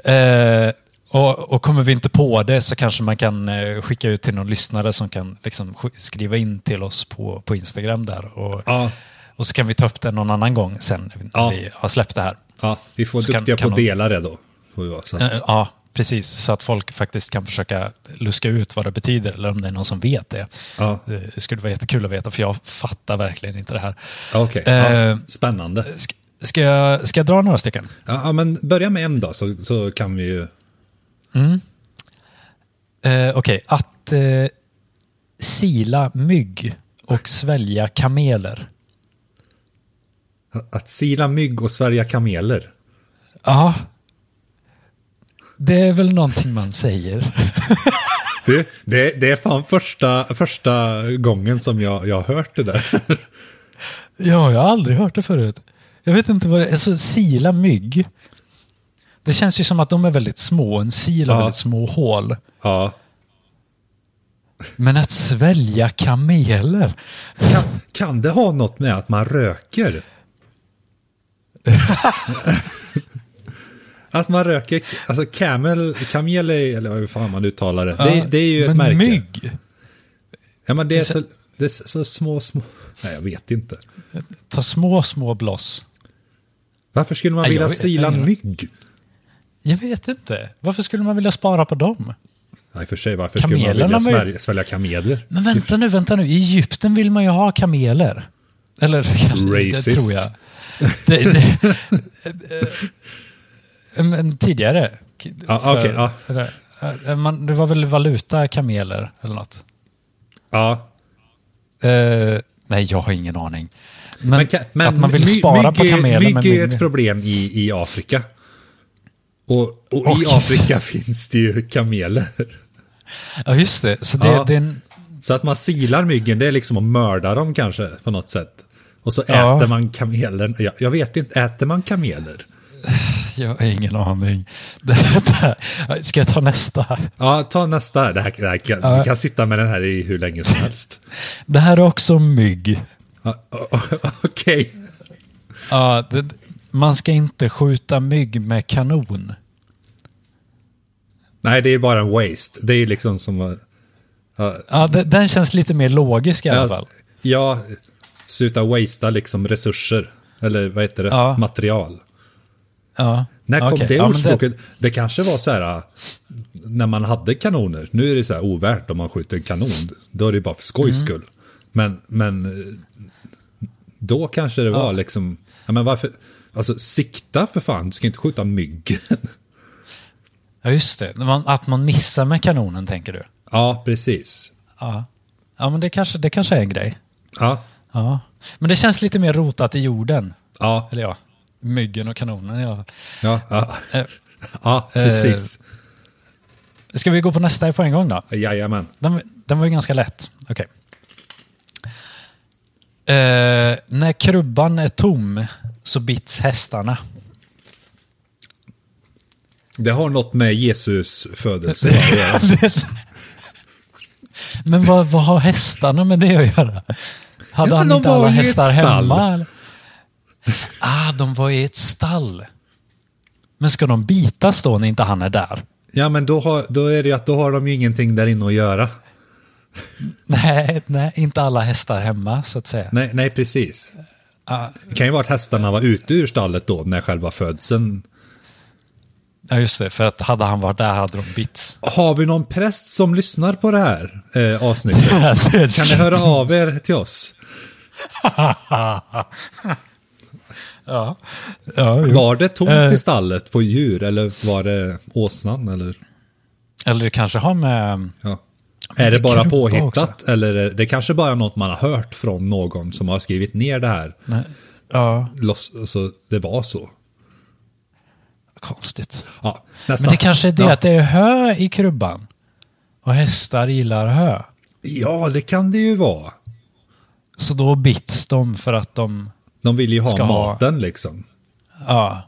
[SPEAKER 1] Ja. Eh, och, och kommer vi inte på det så kanske man kan eh, skicka ut till någon lyssnare som kan liksom, sk- skriva in till oss på, på Instagram där. Och,
[SPEAKER 2] Ja.
[SPEAKER 1] och så kan vi ta upp det någon annan gång sen när vi-
[SPEAKER 2] Ja.
[SPEAKER 1] vi har släppt det här.
[SPEAKER 2] Ja, vi får
[SPEAKER 1] Så kan-
[SPEAKER 2] duktiga
[SPEAKER 1] kan
[SPEAKER 2] på att
[SPEAKER 1] de-
[SPEAKER 2] dela det då. Får vi vara, så att,
[SPEAKER 1] Eh, Ja, precis. Så att folk faktiskt kan försöka luska ut vad det betyder eller om det är någon som vet det.
[SPEAKER 2] Ja.
[SPEAKER 1] Eh, Det skulle vara jättekul att veta för jag fattar verkligen inte det här.
[SPEAKER 2] ja, okej.
[SPEAKER 1] eh,
[SPEAKER 2] ja, spännande.
[SPEAKER 1] Ska, ska, jag, ska jag dra några stycken?
[SPEAKER 2] Ja, ja, men börja med en då, så, så kan vi ju...
[SPEAKER 1] Eh, Okej, att eh, sila mygg och svälja kameler.
[SPEAKER 2] Att sila mygg och svärja kameler.
[SPEAKER 1] Ja. Det är väl någonting man säger.
[SPEAKER 2] Du, det, det är fan första, första gången som jag, jag har hört det där.
[SPEAKER 1] Ja, jag har aldrig hört det förut. Jag vet inte vad det är. Alltså, sila mygg. Det känns ju som att de är väldigt små. En sil har
[SPEAKER 2] Ja.
[SPEAKER 1] väldigt små hål.
[SPEAKER 2] Ja.
[SPEAKER 1] Men att svälja kameler.
[SPEAKER 2] Kan, kan det ha något med att man röker? att man röker, alltså camel, camel är, eller hur fan man uttalar det. det, det är ju ett
[SPEAKER 1] Men
[SPEAKER 2] märke.
[SPEAKER 1] mygg. Alltså-
[SPEAKER 2] Ja, men det är så, det är så små, små... Nej, jag vet inte.
[SPEAKER 1] Ta små, små bloss.
[SPEAKER 2] Varför skulle man
[SPEAKER 1] Nej,
[SPEAKER 2] vilja
[SPEAKER 1] jag vet-
[SPEAKER 2] sila
[SPEAKER 1] jag vet
[SPEAKER 2] mygg?
[SPEAKER 1] Jag vet inte. Varför skulle man vilja spara på dem?
[SPEAKER 2] Nej, för sig, varför skulle man vilja
[SPEAKER 1] Kamelerna var ju-
[SPEAKER 2] svälja, svälja kameler?
[SPEAKER 1] Men vänta nu, vänta nu. I Egypten vill man ju ha kameler. Eller kanske det
[SPEAKER 2] Racist.
[SPEAKER 1] tror jag. Det, det, eh, men tidigare.
[SPEAKER 2] Ja,
[SPEAKER 1] för-
[SPEAKER 2] okej, ja.
[SPEAKER 1] det där, eh, man- Det var väl valuta kameler eller något?
[SPEAKER 2] Ja.
[SPEAKER 1] Eh, nej, jag har ingen aning. Men,
[SPEAKER 2] Men, ka- men
[SPEAKER 1] att man vill
[SPEAKER 2] my-
[SPEAKER 1] spara på
[SPEAKER 2] mygg är-
[SPEAKER 1] kameler.
[SPEAKER 2] Mygg är ju
[SPEAKER 1] Men
[SPEAKER 2] ett problem i, i Afrika. Och, och
[SPEAKER 1] Och-
[SPEAKER 2] i Afrika finns det ju kameler.
[SPEAKER 1] ja, just det. Så det,
[SPEAKER 2] Ja.
[SPEAKER 1] det är en,
[SPEAKER 2] Så att man silar myggen, det är liksom att mörda dem kanske på något sätt. Och så
[SPEAKER 1] Ja.
[SPEAKER 2] äter man kamelen. Jag, jag vet inte, äter man kameler?
[SPEAKER 1] jag har ingen aning. Det, där- ska jag ta nästa?
[SPEAKER 2] Ja, ta nästa. Det här, det här kan, Vi kan sitta med den här i hur länge som helst.
[SPEAKER 1] Det här är också mygg.
[SPEAKER 2] Ja, o- o- Okej.
[SPEAKER 1] Ja, det, man ska inte skjuta mygg med kanon.
[SPEAKER 2] Nej, det är bara en waste. Det är liksom som... att-
[SPEAKER 1] Ja, de- den känns lite mer logisk i alla fall.
[SPEAKER 2] Ja, sluta wastea liksom resurser. Eller vad heter det?
[SPEAKER 1] Ja.
[SPEAKER 2] Material.
[SPEAKER 1] Ja.
[SPEAKER 2] När kom
[SPEAKER 1] Okej,
[SPEAKER 2] det
[SPEAKER 1] ja, men
[SPEAKER 2] ordspråket? Det... kanske var så här äh, när man hade kanoner. Nu är det så här ovärt om man skjuter en kanon. Då är det bara för skojs
[SPEAKER 1] Mm.
[SPEAKER 2] skull. Men, men eh, då kanske det var liksom, ja, men varför, alltså sikta för fan, du ska inte skjuta mygg.
[SPEAKER 1] Ja, just det. När Man, att man missar med kanonen, tänker du?
[SPEAKER 2] ja, precis.
[SPEAKER 1] Ja. Ja, men det kanske, det kanske är en grej.
[SPEAKER 2] Ja,
[SPEAKER 1] Ja. Men det känns lite mer rotat i jorden.
[SPEAKER 2] ja,
[SPEAKER 1] Eller ja, myggen och kanonen i alla fall.
[SPEAKER 2] ja, ja,
[SPEAKER 1] Eh,
[SPEAKER 2] ja precis.
[SPEAKER 1] Ska vi gå på nästa på en gång då?
[SPEAKER 2] Jajamän.
[SPEAKER 1] Den, den var ju ganska lätt. Okej. Eh, när krubban är tom så bits hästarna.
[SPEAKER 2] Det har något med Jesus födelse att göra.
[SPEAKER 1] Men vad, vad har hästarna med det att göra? Hade
[SPEAKER 2] Ja, men
[SPEAKER 1] han
[SPEAKER 2] de
[SPEAKER 1] inte
[SPEAKER 2] var
[SPEAKER 1] alla
[SPEAKER 2] ju i ett
[SPEAKER 1] hästar
[SPEAKER 2] stall.
[SPEAKER 1] hemma? Eller? Ah, de var i ett stall. Men ska de bitas då när inte han är där?
[SPEAKER 2] Ja, men då, har, då är det ju att då har de ju ingenting där inne att göra.
[SPEAKER 1] Nej, nej inte alla hästar hemma så att säga.
[SPEAKER 2] Nej, nej precis.
[SPEAKER 1] Ah.
[SPEAKER 2] Det kan ju vara att hästarna var ute ur stallet då när själva födseln
[SPEAKER 1] Ja, just det. För att hade han varit där hade de bytts.
[SPEAKER 2] Har vi någon präst som lyssnar på det här eh, avsnittet? Kan ni höra av er till oss?
[SPEAKER 1] Ja. ja jo.
[SPEAKER 2] Var det
[SPEAKER 1] Eh.
[SPEAKER 2] tomt i stallet på djur eller var det åsnan? Eller?
[SPEAKER 1] Eller det kanske har med...
[SPEAKER 2] Ja. Är det
[SPEAKER 1] det
[SPEAKER 2] bara
[SPEAKER 1] krubba
[SPEAKER 2] påhittat
[SPEAKER 1] också.
[SPEAKER 2] eller är det kanske bara något man har hört från någon som har skrivit ner det här?
[SPEAKER 1] Nej. Ja,
[SPEAKER 2] Loss, alltså, det var så.
[SPEAKER 1] konstigt.
[SPEAKER 2] Ja, nästa.
[SPEAKER 1] Men det kanske är det
[SPEAKER 2] Ja.
[SPEAKER 1] att det är hö i krubban. Och hästar gillar hö.
[SPEAKER 2] Ja, det kan det ju vara.
[SPEAKER 1] Så då bits de för att de...
[SPEAKER 2] De vill ju ha
[SPEAKER 1] Ska ha-
[SPEAKER 2] maten liksom.
[SPEAKER 1] Ja.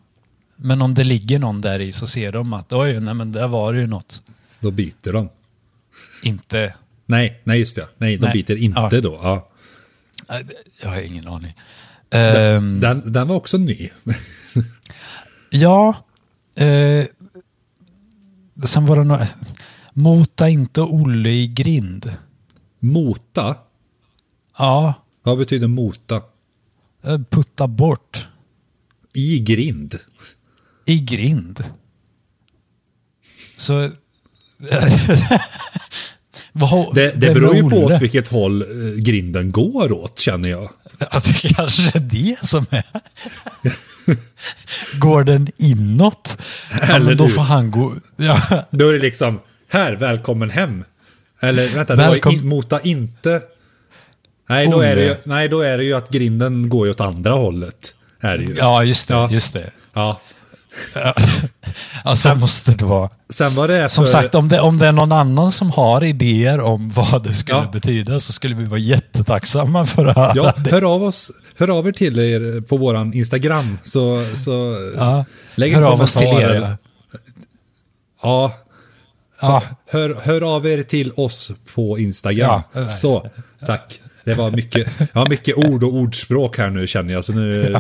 [SPEAKER 1] Men om det ligger någon där i så ser de att oj, nej men där var det ju något.
[SPEAKER 2] Då biter de.
[SPEAKER 1] Inte...
[SPEAKER 2] Nej, nej just det. Nej, de
[SPEAKER 1] Nej.
[SPEAKER 2] biter inte
[SPEAKER 1] Ja.
[SPEAKER 2] då. Ja.
[SPEAKER 1] Äh, Jag har ingen aning. Ehm,
[SPEAKER 2] Den, den var också ny.
[SPEAKER 1] Ja. Eh, sen var det några... Mota inte Olle i grind.
[SPEAKER 2] Mota.
[SPEAKER 1] Ja.
[SPEAKER 2] Vad betyder mota?
[SPEAKER 1] eh, Putta bort.
[SPEAKER 2] I grind.
[SPEAKER 1] I grind. Så... Vad,
[SPEAKER 2] Det, det
[SPEAKER 1] vem
[SPEAKER 2] beror
[SPEAKER 1] är
[SPEAKER 2] ju på
[SPEAKER 1] Olle?
[SPEAKER 2] åt vilket håll eh, grinden går åt, känner jag.
[SPEAKER 1] Alltså, det kanske är det som är... Går den inåt? Ja,
[SPEAKER 2] Eller
[SPEAKER 1] men då
[SPEAKER 2] du.
[SPEAKER 1] får han gå... Ja,
[SPEAKER 2] Då är det liksom, här, välkommen hem. Eller vänta, det var
[SPEAKER 1] Välkom-
[SPEAKER 2] in, mota inte. Nej då, är det ju,
[SPEAKER 1] Olle.
[SPEAKER 2] nej, då är det ju att grinden går ju åt andra hållet. Är det ju.
[SPEAKER 1] ja just det.
[SPEAKER 2] Ja.
[SPEAKER 1] Just det.
[SPEAKER 2] Ja.
[SPEAKER 1] Ja, så måste det vara.
[SPEAKER 2] Sen var det
[SPEAKER 1] Som
[SPEAKER 2] för,
[SPEAKER 1] sagt, om det, om det är någon annan som har idéer om vad det skulle
[SPEAKER 2] Ja.
[SPEAKER 1] betyda så skulle vi vara jättetacksamma för att höra
[SPEAKER 2] Ja,
[SPEAKER 1] det.
[SPEAKER 2] hör av, oss, hör av er till er på våran Instagram. Så, så
[SPEAKER 1] Ja.
[SPEAKER 2] lägg en
[SPEAKER 1] Hör av oss till
[SPEAKER 2] kommentar
[SPEAKER 1] er.
[SPEAKER 2] eller-
[SPEAKER 1] eller?
[SPEAKER 2] Ja,
[SPEAKER 1] Ja,
[SPEAKER 2] hör, hör av er till oss på Instagram.
[SPEAKER 1] Ja.
[SPEAKER 2] så, tack. Det var mycket, jag har mycket ord och ordspråk här nu känner jag. Så nu,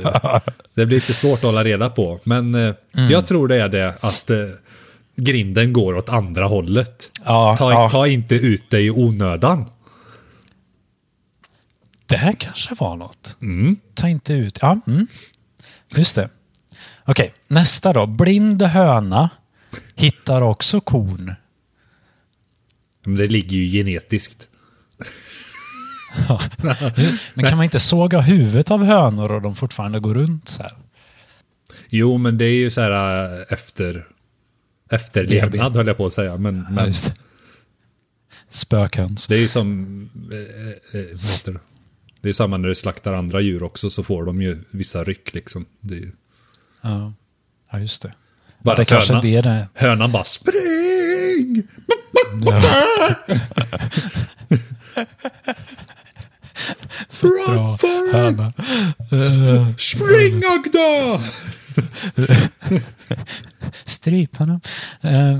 [SPEAKER 2] det blir lite svårt att hålla reda på. Men eh,
[SPEAKER 1] Mm.
[SPEAKER 2] jag tror det är det att eh, grinden går åt andra hållet.
[SPEAKER 1] Ja,
[SPEAKER 2] ta,
[SPEAKER 1] ja.
[SPEAKER 2] ta inte ut dig i onödan.
[SPEAKER 1] det här kanske var något.
[SPEAKER 2] Mm.
[SPEAKER 1] Ta inte ut... Ja, mm. Just det. Okej, nästa då. Blind höna hittar också korn.
[SPEAKER 2] Men det ligger ju genetiskt.
[SPEAKER 1] Men kan man inte såga huvudet av hönor och de fortfarande går runt så här?
[SPEAKER 2] Jo, men det är ju så här eh, efter... Efterlevnad höll jag på att säga, men,
[SPEAKER 1] Ja,
[SPEAKER 2] men
[SPEAKER 1] just det. Spökhöns.
[SPEAKER 2] det är ju som... Eh, eh, vad heter det? Det är samma när du slaktar andra djur också, så får de ju vissa ryck liksom. Det är ju
[SPEAKER 1] Ja, ja just det.
[SPEAKER 2] bara
[SPEAKER 1] det
[SPEAKER 2] att
[SPEAKER 1] kanske
[SPEAKER 2] hönan-
[SPEAKER 1] är det det
[SPEAKER 2] Hönan bara spring!
[SPEAKER 1] Bra
[SPEAKER 2] Framför!
[SPEAKER 1] höna.
[SPEAKER 2] Spring Agda!
[SPEAKER 1] Stryp honom. Eh,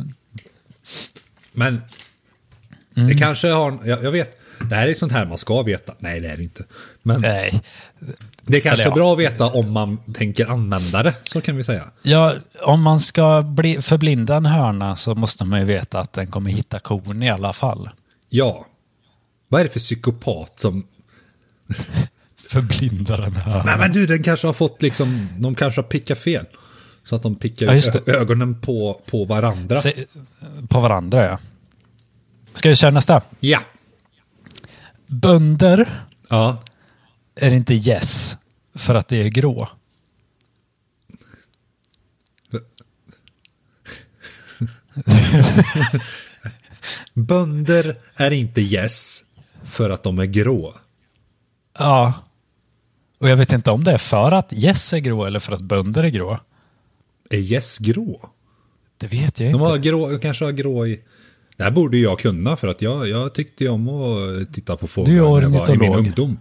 [SPEAKER 2] Men det
[SPEAKER 1] Mm.
[SPEAKER 2] kanske har... Jag, jag vet. Det här är sånt här man ska veta. Nej, det är det inte. Men
[SPEAKER 1] nej.
[SPEAKER 2] det kanske
[SPEAKER 1] eller
[SPEAKER 2] är
[SPEAKER 1] ja.
[SPEAKER 2] bra att veta om man tänker använda det. Så kan vi säga.
[SPEAKER 1] Ja, om man ska bli förblinda en hörna så måste man ju veta att den kommer hitta kon i alla fall.
[SPEAKER 2] Ja. Vad är det för psykopat som...
[SPEAKER 1] Förblindar en hörna.
[SPEAKER 2] Nej men du, den kanske har fått liksom... De kanske har pickat fel. Så att de pickar
[SPEAKER 1] Ja, just
[SPEAKER 2] ö- ögonen på, på varandra.
[SPEAKER 1] Se, på varandra, ja. Ska vi köra nästa?
[SPEAKER 2] Ja.
[SPEAKER 1] Bönder
[SPEAKER 2] Ja.
[SPEAKER 1] är inte gäss för att det är grå.
[SPEAKER 2] Bönder är inte yes för att de är grå.
[SPEAKER 1] Ja. Och jag vet inte om det är för att gäss är grå eller för att bönder är grå.
[SPEAKER 2] Är yes grå?
[SPEAKER 1] Det vet jag
[SPEAKER 2] De
[SPEAKER 1] inte.
[SPEAKER 2] har grå, kanske har grå i... Det här borde ju jag kunna för att jag, jag tyckte ju om att titta på fåglar
[SPEAKER 1] Du är
[SPEAKER 2] när jag var i min
[SPEAKER 1] ornitolog.
[SPEAKER 2] ungdom.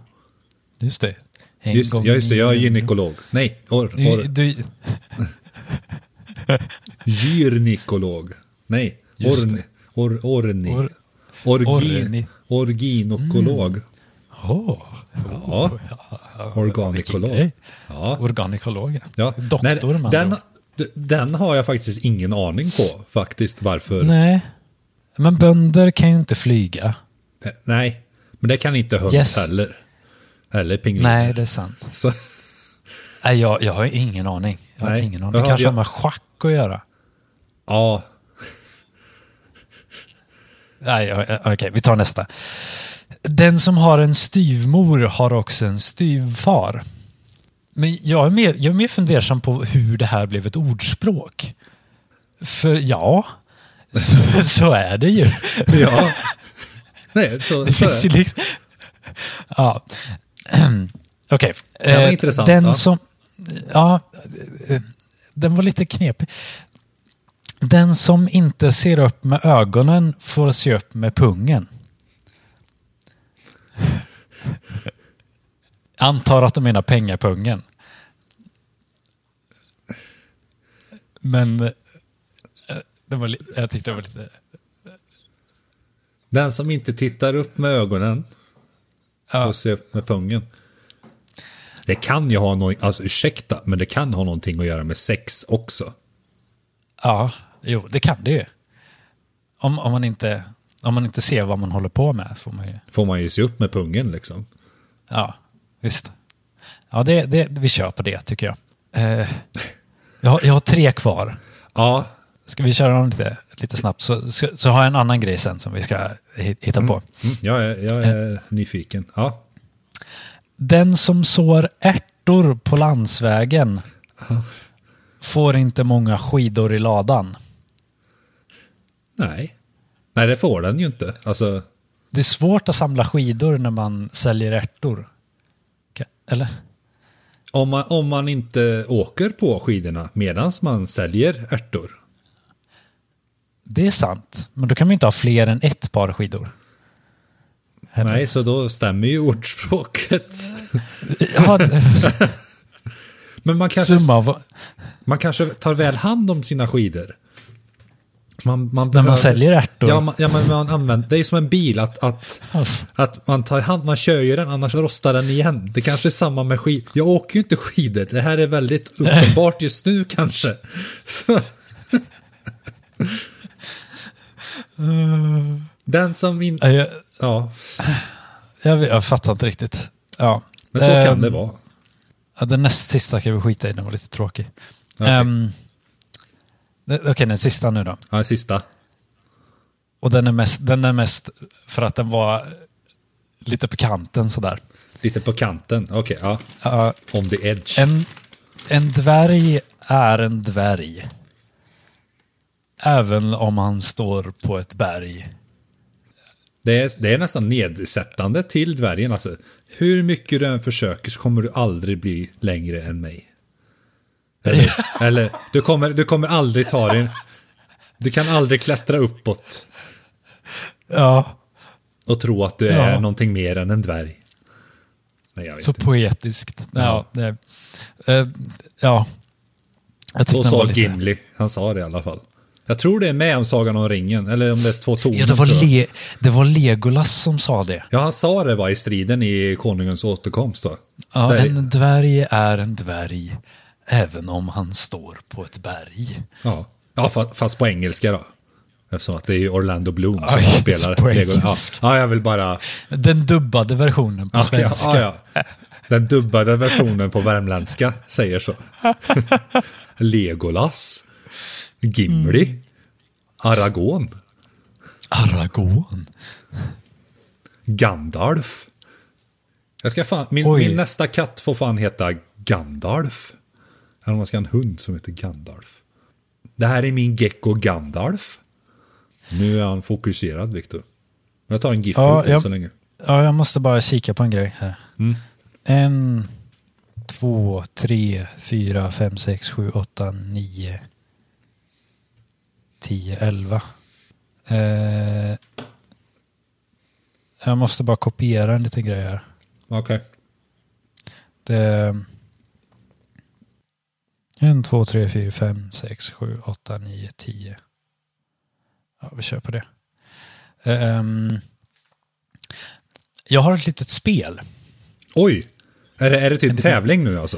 [SPEAKER 1] Just det. En
[SPEAKER 2] Just, ja, just det, jag är gynekolog. Nej, or,
[SPEAKER 1] Du,
[SPEAKER 2] or,
[SPEAKER 1] du,
[SPEAKER 2] Gyrnikolog. Nej,
[SPEAKER 1] Just
[SPEAKER 2] orni. Or, orni.
[SPEAKER 1] Or-
[SPEAKER 2] orgin,
[SPEAKER 1] orni. Mm.
[SPEAKER 2] orginokolog.
[SPEAKER 1] Åh,
[SPEAKER 2] Ja.
[SPEAKER 1] vilken
[SPEAKER 2] Organikolog.
[SPEAKER 1] grej.
[SPEAKER 2] Ja.
[SPEAKER 1] Organikolog.
[SPEAKER 2] ja.
[SPEAKER 1] Doktor
[SPEAKER 2] Nej,
[SPEAKER 1] man.
[SPEAKER 2] den, d- den har jag faktiskt ingen aning på faktiskt varför. Nej.
[SPEAKER 1] Nej. Men bönder kan ju inte
[SPEAKER 2] Mm.
[SPEAKER 1] flyga.
[SPEAKER 2] Eh, Men det kan inte höns
[SPEAKER 1] Yes.
[SPEAKER 2] heller. Eller pingviner.
[SPEAKER 1] Nej, det är sant.
[SPEAKER 2] Så,
[SPEAKER 1] Nej, jag, jag har ingen aning. Jag har
[SPEAKER 2] Nej.
[SPEAKER 1] ingen aning. Det
[SPEAKER 2] Jag
[SPEAKER 1] kanske
[SPEAKER 2] har-
[SPEAKER 1] har med schack att göra.
[SPEAKER 2] Ja,
[SPEAKER 1] Nej, o- o- okej, vi tar nästa. Den som har en styvmor har också en styvfar. Men jag är, mer, jag är mer fundersam på hur det här blev ett ordspråk. För ja, så, så är det ju.
[SPEAKER 2] ja. Nej, så,
[SPEAKER 1] Det
[SPEAKER 2] så är
[SPEAKER 1] finns ju liksom... Ja. Okej.
[SPEAKER 2] var
[SPEAKER 1] Eh,
[SPEAKER 2] intressant,
[SPEAKER 1] Den
[SPEAKER 2] ja.
[SPEAKER 1] som... Ja. eh, Den var lite knepig. Den som inte ser upp med ögonen får se upp med pungen. Antar att de menar pengapungen. Men... eh, Den var, li- jag tyckte det var lite...
[SPEAKER 2] Den som inte tittar upp med ögonen får se upp med pungen. Det kan ju ha någon, alltså ursäkta, men det kan ha någonting att göra med sex också.
[SPEAKER 1] Ja, jo, det kan det ju. Om, om, man inte, om man inte ser vad man håller på med får man ju...
[SPEAKER 2] Får man ju se upp med pungen liksom.
[SPEAKER 1] Ja, visst. Ja, det, det, vi kör på det tycker jag. Eh, jag, har- jag har tre kvar.
[SPEAKER 2] Ja,
[SPEAKER 1] Ska vi köra dem lite, lite snabbt så, så, så har jag en annan grej sen som vi ska hi- hitta på.
[SPEAKER 2] mm, jag är, jag är nyfiken. Ja.
[SPEAKER 1] Den som sår ärtor på landsvägen får inte många skidor i ladan.
[SPEAKER 2] Nej. Nej, det får den ju inte. Alltså,
[SPEAKER 1] Det är svårt att samla skidor när man säljer ärtor. Ka- Eller?
[SPEAKER 2] om man, om man inte åker på skidorna medan man säljer ärtor.
[SPEAKER 1] Det är sant, men då kan man ju inte ha fler än ett par skidor.
[SPEAKER 2] Nej, så då stämmer ju ordspråket.
[SPEAKER 1] Ja,
[SPEAKER 2] Men man kanske
[SPEAKER 1] summa av,
[SPEAKER 2] Man kanske tar väl hand om sina skidor. Man, man
[SPEAKER 1] när man säljer ärtor.
[SPEAKER 2] Ja, man, ja, men man använder, det är ju som en bil att, att,
[SPEAKER 1] Alltså.
[SPEAKER 2] att man tar hand, man kör ju den annars rostar den igen. Det kanske är samma med skid. Jag åker ju inte skidor, det här är väldigt uppenbart just nu kanske. Så. Den som inte...
[SPEAKER 1] Ja, jag,
[SPEAKER 2] Ja,
[SPEAKER 1] jag, vet- jag fattar inte riktigt. Ja.
[SPEAKER 2] men så
[SPEAKER 1] Ehm,
[SPEAKER 2] kan det vara.
[SPEAKER 1] ja, Den näst sista kan vi skita i, den var lite tråkig.
[SPEAKER 2] Okej.
[SPEAKER 1] Ehm, det- Okej, den sista nu då.
[SPEAKER 2] Ja, sista.
[SPEAKER 1] Och den är, mest, den är mest för att den var lite på kanten sådär.
[SPEAKER 2] Lite på kanten. Okej, ja.
[SPEAKER 1] Ja,
[SPEAKER 2] On the edge.
[SPEAKER 1] En, en dvärg är en dvärg. Även om han står på ett berg.
[SPEAKER 2] Det är, det är nästan nedsättande till dvärgen. Alltså, hur mycket du än försöker så kommer du aldrig bli längre än mig. Eller, eller du, kommer, du kommer aldrig ta din... Du kan aldrig klättra uppåt
[SPEAKER 1] Ja,
[SPEAKER 2] och tro att du är
[SPEAKER 1] Ja.
[SPEAKER 2] någonting mer än en dvärg. Nej, jag vet
[SPEAKER 1] så
[SPEAKER 2] inte.
[SPEAKER 1] poetiskt. Ja,
[SPEAKER 2] Ja.
[SPEAKER 1] det, eh, ja. Jag tyckte
[SPEAKER 2] Så
[SPEAKER 1] den var
[SPEAKER 2] sa
[SPEAKER 1] lite...
[SPEAKER 2] Gimli. Han sa det i alla fall. Jag tror det är med om Sagan om ringen, eller om det är två toner.
[SPEAKER 1] Ja, det var,
[SPEAKER 2] tror jag.
[SPEAKER 1] le, det var Legolas som sa det.
[SPEAKER 2] ja, han sa det va, i striden i Konungens återkomst. Då.
[SPEAKER 1] Ja,
[SPEAKER 2] Där-
[SPEAKER 1] en dvärg är en dvärg, även om han står på ett berg.
[SPEAKER 2] Ja, ja fa- fast på engelska då. Eftersom att det är ju Orlando Bloom som
[SPEAKER 1] Aj, på
[SPEAKER 2] spelar Lego. Ja.
[SPEAKER 1] engelska.
[SPEAKER 2] ja, jag vill bara...
[SPEAKER 1] Den dubbade versionen på
[SPEAKER 2] Ja, ja,
[SPEAKER 1] svenska.
[SPEAKER 2] ja, ja. Den dubbade versionen på värmländska säger så. Legolas. Gimli.
[SPEAKER 1] Mm.
[SPEAKER 2] Aragorn.
[SPEAKER 1] Aragorn.
[SPEAKER 2] Gandalf. Jag ska fan, min,
[SPEAKER 1] Oj.
[SPEAKER 2] min nästa katt får fan heta Gandalf. Eller om man ska ha en hund som heter Gandalf. Det här är min gecko Gandalf. Nu är han fokuserad, Viktor. Jag tar en giffel
[SPEAKER 1] Ja,
[SPEAKER 2] ja,
[SPEAKER 1] jag-
[SPEAKER 2] så länge.
[SPEAKER 1] Ja, jag måste bara kika på en grej här. En, två, tre, fyra, fem, sex, sju, åtta, nio, tio, elva. Eh, jag måste bara kopiera en liten grej här.
[SPEAKER 2] Okej.
[SPEAKER 1] Det, en, två, tre, fyra, fem, sex, sju, åtta, nio, tio. Ja, vi kör på det. Ehm, jag har ett litet spel.
[SPEAKER 2] Oj! Är det, är det typ tävling nu alltså?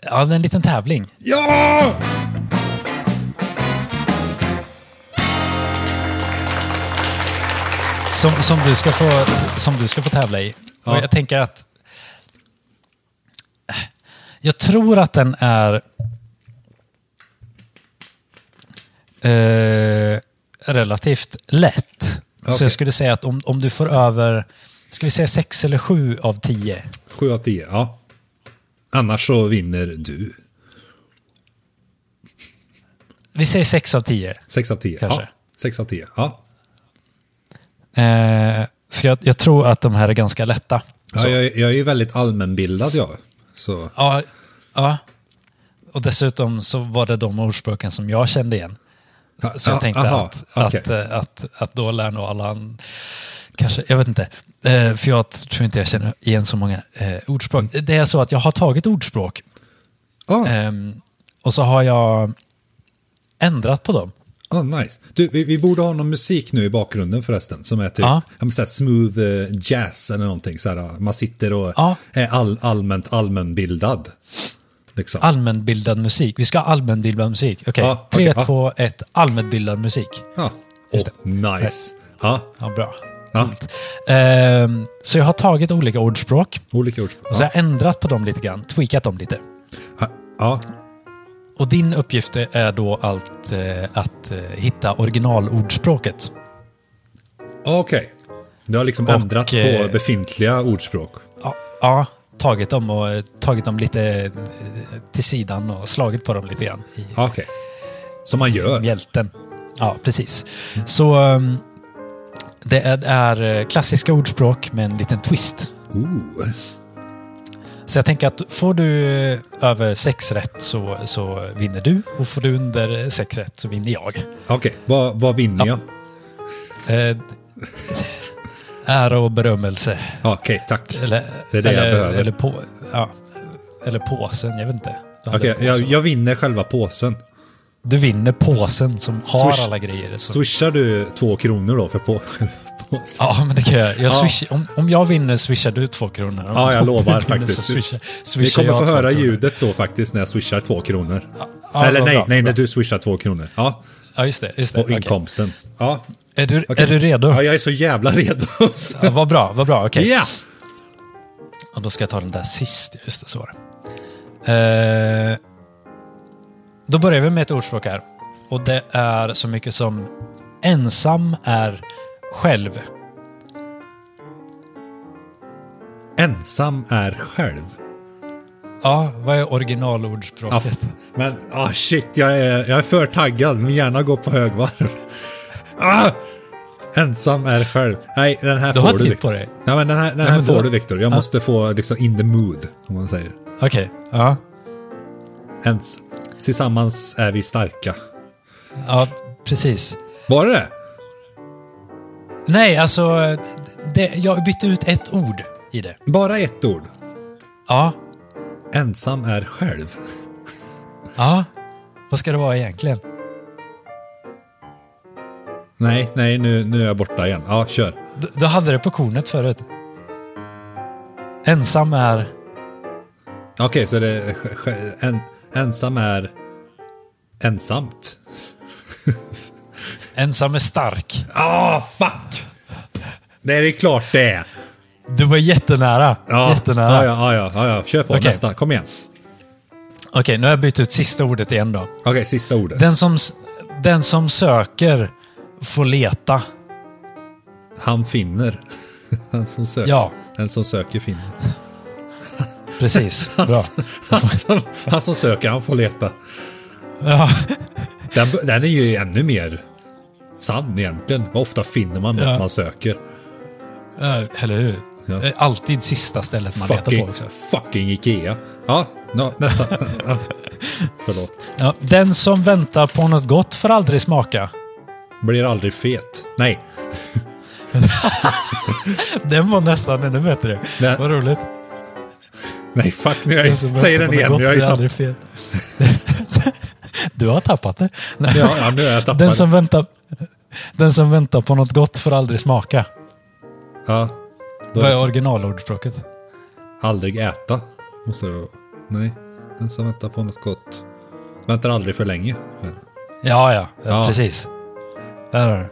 [SPEAKER 1] Ja, det är en liten tävling.
[SPEAKER 2] Ja!
[SPEAKER 1] Som, som, du, ska få, som du ska få tävla i.
[SPEAKER 2] Ja.
[SPEAKER 1] Och jag tänker att... Jag tror att den är... Eh, eh, relativt lätt. Så
[SPEAKER 2] Okej.
[SPEAKER 1] jag skulle säga att om, om du får över, ska vi säga sex eller sju av tio?
[SPEAKER 2] Sju av tio, ja. Annars så vinner du.
[SPEAKER 1] Vi säger sex av tio.
[SPEAKER 2] Sex av tio. Ja.
[SPEAKER 1] Kanske.
[SPEAKER 2] Sex av tio, ja.
[SPEAKER 1] Eh, för jag, jag tror att de här är ganska lätta.
[SPEAKER 2] ja jag, jag är ju väldigt allmänbildad jag. Så,
[SPEAKER 1] Ja, ja. Och dessutom så var det de ordspråken som jag kände igen. Så
[SPEAKER 2] Ah,
[SPEAKER 1] jag tänkte
[SPEAKER 2] aha,
[SPEAKER 1] att,
[SPEAKER 2] okej.
[SPEAKER 1] att, eh, att, att då lär nog alla an- Kanske, jag vet inte. Eh, För jag tror inte jag känner igen så många eh, ordspråk.
[SPEAKER 2] Mm.
[SPEAKER 1] Det är så att jag har tagit ordspråk
[SPEAKER 2] ah,
[SPEAKER 1] ehm, och så har jag ändrat på dem.
[SPEAKER 2] ah, nice. Du, vi, vi borde ha någon musik nu i bakgrunden förresten. Som är typ
[SPEAKER 1] Ja.
[SPEAKER 2] ja. men så här smooth eh, jazz eller någonting. Så här, ah, man sitter och
[SPEAKER 1] Ja.
[SPEAKER 2] är all, allmänt allmänbildad. Liksom.
[SPEAKER 1] Allmänbildad musik. Vi ska ha allmänbildad musik. Okej,
[SPEAKER 2] Ja, okej,
[SPEAKER 1] tre,
[SPEAKER 2] ja.
[SPEAKER 1] två, ett. Allmänbildad musik.
[SPEAKER 2] ja.
[SPEAKER 1] Ah. just
[SPEAKER 2] Ah.
[SPEAKER 1] Eh.
[SPEAKER 2] Åh, nice. Ja,
[SPEAKER 1] Ja, bra.
[SPEAKER 2] ja.
[SPEAKER 1] Ehm, Så jag har tagit olika ordspråk
[SPEAKER 2] Olika ordspråk.
[SPEAKER 1] och så har jag ändrat på dem lite grann. Tweakat dem lite.
[SPEAKER 2] Ja. Ja.
[SPEAKER 1] Och din uppgift är då allt, eh, att eh, hitta originalordspråket.
[SPEAKER 2] Ah, Okej. Du har liksom ändrat på
[SPEAKER 1] eh,
[SPEAKER 2] befintliga ordspråk.
[SPEAKER 1] Ja, ja tagit dem och eh, tagit dem lite eh, till sidan och slagit på dem lite grann i
[SPEAKER 2] Ah, Okej. Som man gör.
[SPEAKER 1] mjälten. Ja, precis. Så ehm, det är- är eh, klassiska ordspråk med en liten twist.
[SPEAKER 2] Ooh.
[SPEAKER 1] Så jag tänker att får du eh, över sex rätt så, så vinner du och får du under eh, sex rätt så vinner jag.
[SPEAKER 2] Okej, vad, vad vinner jag?
[SPEAKER 1] Eh, ära och berömmelse.
[SPEAKER 2] Ja, Ah, Okej, tack.
[SPEAKER 1] Eller,
[SPEAKER 2] Det är det jag
[SPEAKER 1] eller,
[SPEAKER 2] behöver.
[SPEAKER 1] Eller, på, ja, eller påsen, jag vet inte. Du, hade
[SPEAKER 2] Okej,
[SPEAKER 1] påsen.
[SPEAKER 2] jag, jag vinner själva påsen.
[SPEAKER 1] du vinner påsen som har
[SPEAKER 2] Swish.
[SPEAKER 1] alla grejer. Så.
[SPEAKER 2] Swishar du två kronor då för på, påsen?
[SPEAKER 1] Ja, men det kan jag. jag swish, om, om jag vinner swishar du två kronor. Om
[SPEAKER 2] Ja, jag
[SPEAKER 1] du
[SPEAKER 2] lovar
[SPEAKER 1] vinner
[SPEAKER 2] faktiskt.
[SPEAKER 1] Så swishar,
[SPEAKER 2] Vi
[SPEAKER 1] swishar
[SPEAKER 2] kommer
[SPEAKER 1] jag
[SPEAKER 2] få
[SPEAKER 1] två
[SPEAKER 2] höra
[SPEAKER 1] kronor.
[SPEAKER 2] ljudet då faktiskt när jag swishar två kronor.
[SPEAKER 1] ja,
[SPEAKER 2] Eller
[SPEAKER 1] vad
[SPEAKER 2] nej,
[SPEAKER 1] bra,
[SPEAKER 2] nej, när du swishar två kronor. Ja,
[SPEAKER 1] Ja, just det. Just det.
[SPEAKER 2] och
[SPEAKER 1] Okej.
[SPEAKER 2] inkomsten. Ja.
[SPEAKER 1] Är, du,
[SPEAKER 2] okej.
[SPEAKER 1] är du redo?
[SPEAKER 2] ja,
[SPEAKER 1] Ja,
[SPEAKER 2] jag är så jävla redo.
[SPEAKER 1] vad bra, vad bra. Okej.
[SPEAKER 2] Ja!
[SPEAKER 1] Och då ska jag ta den där sist. Just det, så var det. Eh, då börjar vi med ett ordspråk här. Och det är så mycket som ensam är själv.
[SPEAKER 2] Ensam är själv.
[SPEAKER 1] Ja, vad är originalordspråket?
[SPEAKER 2] Ja, f- men ah shit, jag är, jag är för taggad. Min hjärna går på högvarv. Ah! Ensam är själv. Nej, den här
[SPEAKER 1] Du
[SPEAKER 2] får
[SPEAKER 1] har
[SPEAKER 2] du
[SPEAKER 1] tid
[SPEAKER 2] Victor.
[SPEAKER 1] på dig.
[SPEAKER 2] Nej, men den här, den här
[SPEAKER 1] men
[SPEAKER 2] får
[SPEAKER 1] då-
[SPEAKER 2] du Viktor. Jag måste få liksom in the mood, om man säger.
[SPEAKER 1] Okej, ja.
[SPEAKER 2] Ens. Tillsammans är vi starka.
[SPEAKER 1] ja, precis.
[SPEAKER 2] Var det det?
[SPEAKER 1] Nej, alltså, det, jag bytte ut ett ord i det.
[SPEAKER 2] Bara ett ord.
[SPEAKER 1] Ja,
[SPEAKER 2] Ensam är själv.
[SPEAKER 1] ja. Vad ska det vara egentligen?
[SPEAKER 2] Nej, nej, nu, nu är jag borta igen. Ja, kör.
[SPEAKER 1] Du, du hade det på kornet förut. Ensam är...
[SPEAKER 2] Okej, så det är sj- sj- en, ensam är ensamt.
[SPEAKER 1] Ensam är stark.
[SPEAKER 2] Ah, fuck! Nej, det är klart det är.
[SPEAKER 1] Du var jättenära.
[SPEAKER 2] Ja,
[SPEAKER 1] jättenära.
[SPEAKER 2] Ja, ja, ja, ja, ja. Kör på
[SPEAKER 1] Okej.
[SPEAKER 2] nästa. Kom igen.
[SPEAKER 1] Okej, nu har jag bytt ut sista ordet igen då.
[SPEAKER 2] Okej, sista ordet.
[SPEAKER 1] Den som, s- den som söker får leta.
[SPEAKER 2] Han finner. Den som söker.
[SPEAKER 1] Ja.
[SPEAKER 2] Den som söker finner.
[SPEAKER 1] Precis. Bra.
[SPEAKER 2] Alltså. Han som, han som söker, han får leta.
[SPEAKER 1] Ja.
[SPEAKER 2] Den, den är ju ännu mer sann egentligen. Vad ofta finner man något
[SPEAKER 1] Ja.
[SPEAKER 2] man söker?
[SPEAKER 1] Eh, Eller hur?
[SPEAKER 2] Ja.
[SPEAKER 1] Eh, Alltid sista stället man letar
[SPEAKER 2] Fucking,
[SPEAKER 1] på också.
[SPEAKER 2] fucking Ikea. Ja, nå, nästa. Ja. Förlåt.
[SPEAKER 1] Ja, den som väntar på något gott får aldrig smaka.
[SPEAKER 2] Blir aldrig fet. Nej,
[SPEAKER 1] Den var nästan ännu bättre.
[SPEAKER 2] Den-
[SPEAKER 1] Vad roligt.
[SPEAKER 2] nej fuck nu. har
[SPEAKER 1] Den
[SPEAKER 2] Jag,
[SPEAKER 1] som
[SPEAKER 2] säger
[SPEAKER 1] väntar
[SPEAKER 2] den
[SPEAKER 1] på något
[SPEAKER 2] igen.
[SPEAKER 1] gott
[SPEAKER 2] Jag har
[SPEAKER 1] blir
[SPEAKER 2] ju tappat.
[SPEAKER 1] aldrig fet. Du har tappat det. Nej.
[SPEAKER 2] Ja, ja, nu har jag tappat.
[SPEAKER 1] Den som, väntar, den som väntar på något gott får aldrig smaka.
[SPEAKER 2] Ja. Då är
[SPEAKER 1] Vad
[SPEAKER 2] det
[SPEAKER 1] är
[SPEAKER 2] så-
[SPEAKER 1] originalordspråket?
[SPEAKER 2] Aldrig äta. Måste det vara. Nej. Den som väntar på något gott. Väntar aldrig för länge.
[SPEAKER 1] Ja, ja,
[SPEAKER 2] Ja.
[SPEAKER 1] ja. precis. Där har du.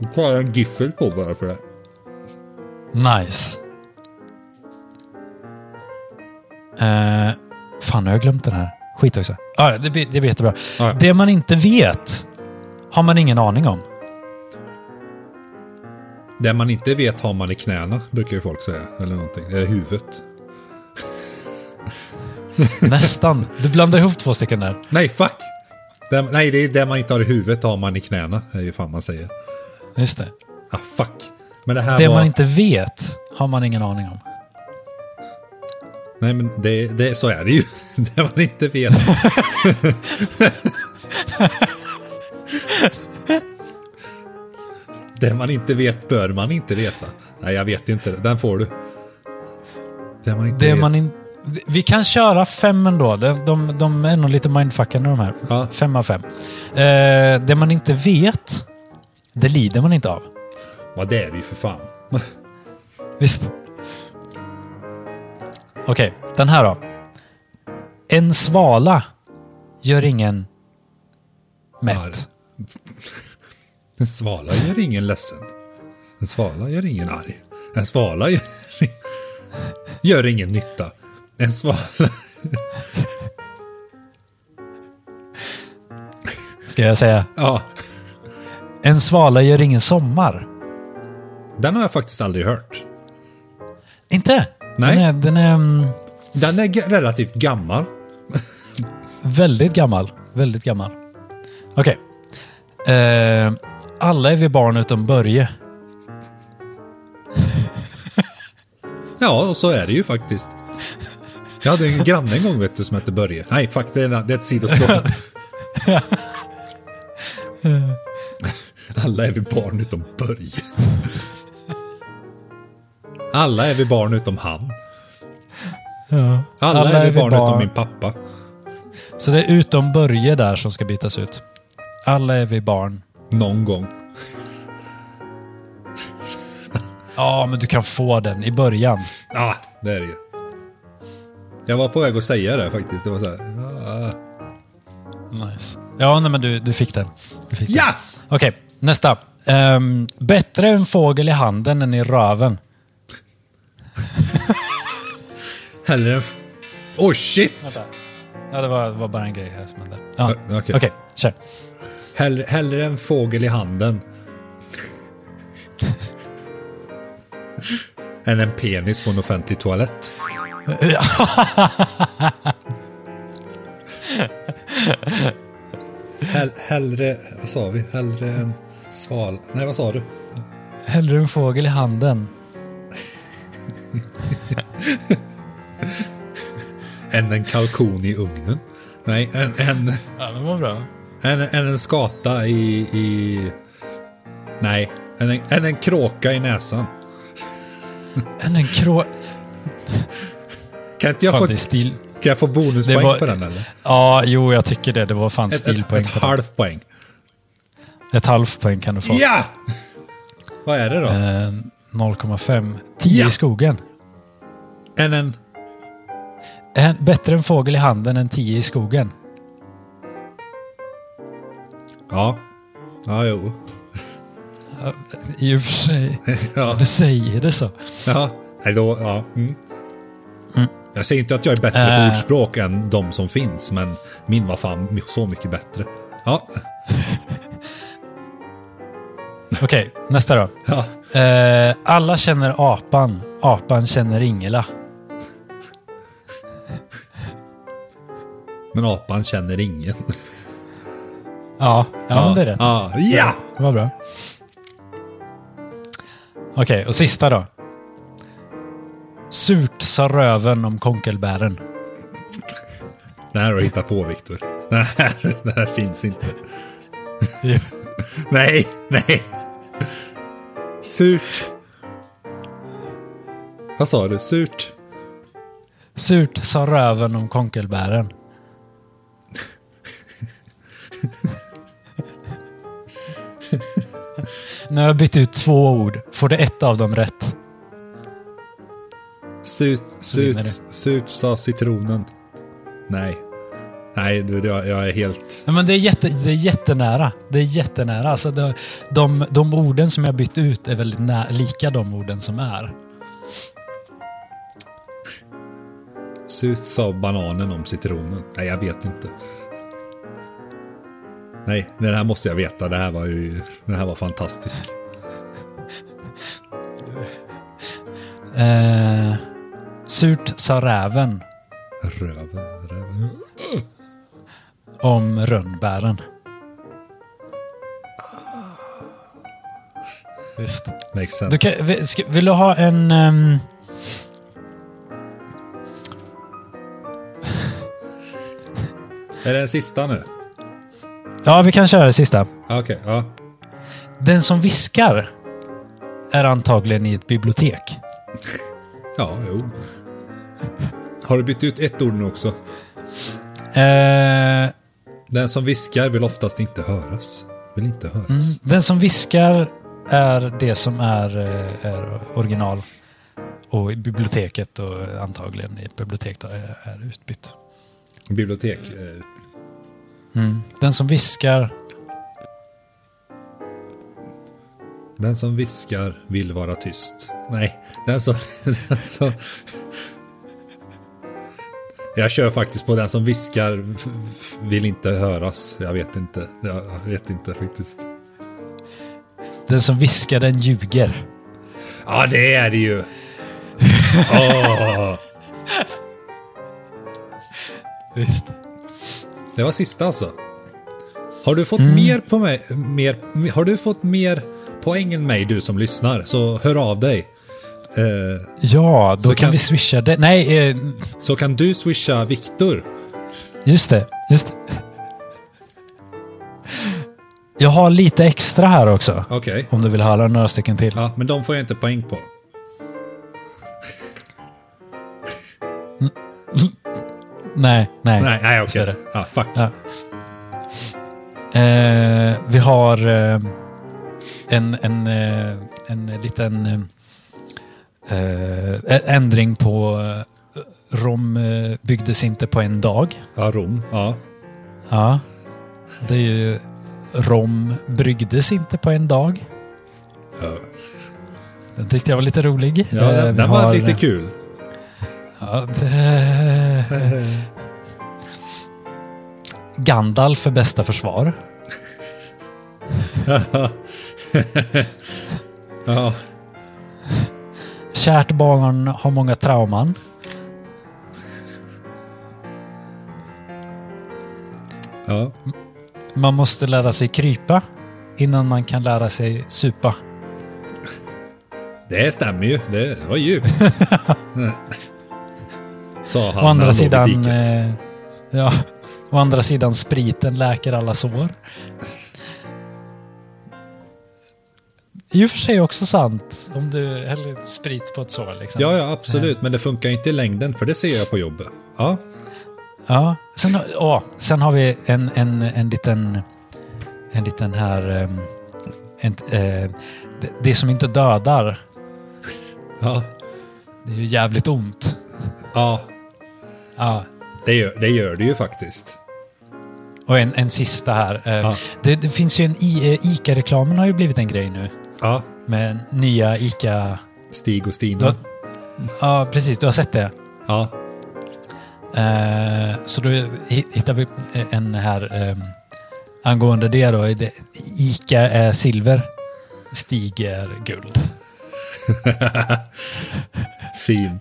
[SPEAKER 2] Nu tar jag en giffel på bara för det.
[SPEAKER 1] Nice. Eh, fan, nu har jag glömt den här. Skit också. Ja, ja, det, blir- det blir jättebra.
[SPEAKER 2] Ja, ja.
[SPEAKER 1] Det man inte vet har man ingen aning om.
[SPEAKER 2] Det man inte vet har man i knäna, brukar ju folk säga. Eller någonting. Eller huvudet.
[SPEAKER 1] Nästan. Du blandar ihop två stycken där.
[SPEAKER 2] Nej, fuck! Det, nej, det är det man inte har i huvudet har man i knäna, är ju fan man säger.
[SPEAKER 1] Just det.
[SPEAKER 2] Ah, fuck. Men det här
[SPEAKER 1] Det
[SPEAKER 2] var...
[SPEAKER 1] man inte vet har man ingen aning om.
[SPEAKER 2] Nej, men det, det, så är det ju. Det man inte vet. det man inte vet bör man inte veta. Nej, jag vet inte. Den får du. Det man inte
[SPEAKER 1] Det
[SPEAKER 2] vet.
[SPEAKER 1] man in... Vi kan köra fem ändå. De, de, de är nog lite mindfuckande de här.
[SPEAKER 2] Ja.
[SPEAKER 1] Fem av fem. Eh, det man inte vet, det lider man inte av.
[SPEAKER 2] Ja, det är det ju för fan.
[SPEAKER 1] Visst? Okej, den här då. En svala gör ingen mätt.
[SPEAKER 2] En svala gör ingen ledsen. En svala gör ingen arg. En svala gör, gör ingen nytta. En svala...
[SPEAKER 1] Ska jag säga.
[SPEAKER 2] Ja,
[SPEAKER 1] En svala gör ingen sommar.
[SPEAKER 2] den har jag faktiskt aldrig hört.
[SPEAKER 1] Inte?
[SPEAKER 2] Nej.
[SPEAKER 1] Den är, den är mm,
[SPEAKER 2] Den är g- relativt gammal.
[SPEAKER 1] väldigt gammal. Väldigt gammal. Okej. Eh, alla är vi barn utom Börje.
[SPEAKER 2] Ja, och så är det ju faktiskt. Jag hade en granne en gång vet du, som hette Börje. Nej, fuck, det är, en- det är ett sidospår. Alla är vi barn utom Börje. Alla är vi barn utom han. Alla, är vi barn, utom min pappa.
[SPEAKER 1] Så det är utom Börje där som ska bytas ut. Alla är vi barn.
[SPEAKER 2] Någon gång.
[SPEAKER 1] Ja, men du kan få den i början.
[SPEAKER 2] Ja, ah, det är det ju. Jag var på väg att säga det faktiskt. Det var så här.
[SPEAKER 1] Nice. Ja, nej, men du, du fick den. Du fick
[SPEAKER 2] Ja!
[SPEAKER 1] den. Okej, nästa. Ehm, bättre en fågel i handen än i röven.
[SPEAKER 2] Hellre en... f- Oh shit!
[SPEAKER 1] Ja, det var, var bara en grej här som hände. Ja.
[SPEAKER 2] Ö, okej.
[SPEAKER 1] Okej, kör.
[SPEAKER 2] Hellre, hellre en fågel i handen. Än en penis på en offentlig toalett. Hell, hellre, vad sa vi? Hellre en sval... Nej, vad sa du?
[SPEAKER 1] Hellre en fågel i handen.
[SPEAKER 2] Än en kalkon i ugnen. Nej, en, en,
[SPEAKER 1] Ja, det var bra.
[SPEAKER 2] en, en, en skata i... i nej, än en, än en kråka i näsan.
[SPEAKER 1] Än en krå...
[SPEAKER 2] Kan inte jag,
[SPEAKER 1] Fan,
[SPEAKER 2] få,
[SPEAKER 1] det är stil...
[SPEAKER 2] kan jag få bonuspoäng
[SPEAKER 1] det var-
[SPEAKER 2] på den eller?
[SPEAKER 1] Ja, jo, jag tycker det. Det var fan
[SPEAKER 2] Ett, ett,
[SPEAKER 1] stilpoäng.
[SPEAKER 2] ett
[SPEAKER 1] på den.
[SPEAKER 2] halvt poäng.
[SPEAKER 1] ett halvt poäng kan du få.
[SPEAKER 2] Ja! Vad är det då?
[SPEAKER 1] Ehm, 0,5. 10
[SPEAKER 2] Ja.
[SPEAKER 1] i skogen.
[SPEAKER 2] Än en...
[SPEAKER 1] En, Eh, bättre en fågel i handen än 10 i skogen.
[SPEAKER 2] Ja. Ja, jo.
[SPEAKER 1] I och för sig.
[SPEAKER 2] Ja.
[SPEAKER 1] Du säger det så.
[SPEAKER 2] ja. Nej, då, ja. Mm.
[SPEAKER 1] Mm.
[SPEAKER 2] Jag säger inte att jag är bättre på
[SPEAKER 1] Äh.
[SPEAKER 2] ordspråk än de som finns, men min var fan så mycket bättre. Ja.
[SPEAKER 1] Okej, nästa då.
[SPEAKER 2] ja.
[SPEAKER 1] Eh, alla känner apan. Apan känner Ingela.
[SPEAKER 2] Men apan känner ingen.
[SPEAKER 1] Ja, ja, Men det är rätt.
[SPEAKER 2] Ja. ja.
[SPEAKER 1] Det var bra. Okej, och sista då. Surt sa röven om konkelbären.
[SPEAKER 2] Det här har du hittat på, Viktor. Det här, det här finns inte. Nej, nej. Surt. Vad sa du? Surt?
[SPEAKER 1] Surt sa röven om konkelbären. Nu har jag bytt ut två ord. Får du ett av dem rätt?
[SPEAKER 2] Surt,
[SPEAKER 1] vinner
[SPEAKER 2] surt, surt sa citronen. Nej. Nej, du, du, jag jag är helt...
[SPEAKER 1] Ja, Men det, är jätte, det är jättenära. Det är jättenära. Alltså det, de, de orden som jag bytt ut är väldigt nä, lika de orden som är.
[SPEAKER 2] ut sa bananen om citronen. Nej, jag vet inte. Nej, den här måste jag veta. Det här var ju... Den här var fantastisk.
[SPEAKER 1] Eh, surt sa räven
[SPEAKER 2] Röven, röven.
[SPEAKER 1] om rönnbären. Visst.
[SPEAKER 2] Makes
[SPEAKER 1] Du
[SPEAKER 2] sense.
[SPEAKER 1] kan, vi- ska, vill du ha en... ehm,
[SPEAKER 2] Är det den sista nu?
[SPEAKER 1] ja, vi kan köra det sista.
[SPEAKER 2] Ja, Ah, Okej, ja.
[SPEAKER 1] Den som viskar är antagligen i ett bibliotek.
[SPEAKER 2] Ja, jo. Har du bytt ut ett ord nu också?
[SPEAKER 1] Eh,
[SPEAKER 2] Den som viskar vill oftast inte höras. Vill inte höras.
[SPEAKER 1] den som viskar är det som är, eh, är original. Och i biblioteket och antagligen i ett bibliotek då är, är utbytt.
[SPEAKER 2] Bibliotek. eh, Mm.
[SPEAKER 1] Den som viskar
[SPEAKER 2] Den som viskar vill vara tyst. Nej, den som... Den som jag kör faktiskt på den som viskar vill inte höras. Jag vet inte. Jag vet inte faktiskt.
[SPEAKER 1] Den som viskar den ljuger.
[SPEAKER 2] Ja, det är det ju. Åh,
[SPEAKER 1] Visst.
[SPEAKER 2] det var sista alltså. Har du fått
[SPEAKER 1] Mm.
[SPEAKER 2] mer på mig? Mer, har du fått mer poäng än mig du som lyssnar? Så hör av dig. Eh,
[SPEAKER 1] Ja, då
[SPEAKER 2] Så
[SPEAKER 1] kan,
[SPEAKER 2] kan-
[SPEAKER 1] vi swisha det. Nej, eh,
[SPEAKER 2] så kan du swisha Viktor.
[SPEAKER 1] just det. Just det. Jag har lite extra här också.
[SPEAKER 2] Okej.
[SPEAKER 1] Om du vill höra några stycken till.
[SPEAKER 2] Ja, men de får jag inte poäng på.
[SPEAKER 1] Nej, nej.
[SPEAKER 2] Nej, nej
[SPEAKER 1] Så
[SPEAKER 2] okej.
[SPEAKER 1] är det.
[SPEAKER 2] Ja, fuck.
[SPEAKER 1] Ja. Eh, vi har eh, en, en, eh, en liten eh, eh, ändring på eh, Rom eh, byggdes inte på en dag.
[SPEAKER 2] Ja, Rom. Ja.
[SPEAKER 1] Ja. Det är ju Rom bryggdes inte på en dag.
[SPEAKER 2] Ja,
[SPEAKER 1] Den tyckte jag var lite rolig.
[SPEAKER 2] ja
[SPEAKER 1] Eh,
[SPEAKER 2] den,
[SPEAKER 1] vi
[SPEAKER 2] den var
[SPEAKER 1] har-
[SPEAKER 2] lite kul.
[SPEAKER 1] Ja, det... Gandalf för bästa försvar.
[SPEAKER 2] Ja.
[SPEAKER 1] Kärt barn har många trauman.
[SPEAKER 2] ja.
[SPEAKER 1] Man måste lära sig krypa innan man kan lära sig supa.
[SPEAKER 2] Det stämmer ju. Det var djupt. Sa han
[SPEAKER 1] Å
[SPEAKER 2] när han
[SPEAKER 1] andra
[SPEAKER 2] låg i
[SPEAKER 1] sidan...
[SPEAKER 2] diket.
[SPEAKER 1] Eh, ja, å andra sidan spriten läker alla sår. I och för sig också sant. Om du häller sprit på ett sår liksom.
[SPEAKER 2] Ja, ja, absolut. Men det funkar inte i längden, för det ser jag på jobbet. Ja.
[SPEAKER 1] Ja, sen, har- ja, sen har vi en, en, en liten... En liten här... ehm, En, eh, det, det som inte dödar,
[SPEAKER 2] Ja.
[SPEAKER 1] det är ju jävligt ont.
[SPEAKER 2] Ja.
[SPEAKER 1] Ja.
[SPEAKER 2] Det gör, det gör det ju faktiskt.
[SPEAKER 1] Och en, en sista här. Eh,
[SPEAKER 2] Ja.
[SPEAKER 1] Det, det finns ju en... I- eh, Ica-reklamen har ju blivit en grej nu.
[SPEAKER 2] Ja.
[SPEAKER 1] Med nya Ica...
[SPEAKER 2] Stig och Stina.
[SPEAKER 1] Ja. Ja, precis. Du har sett det.
[SPEAKER 2] Ja.
[SPEAKER 1] Eh, så då hi- hittar vi en här ehm, angående det då. Det- Ica är silver. Stig är guld.
[SPEAKER 2] Fin.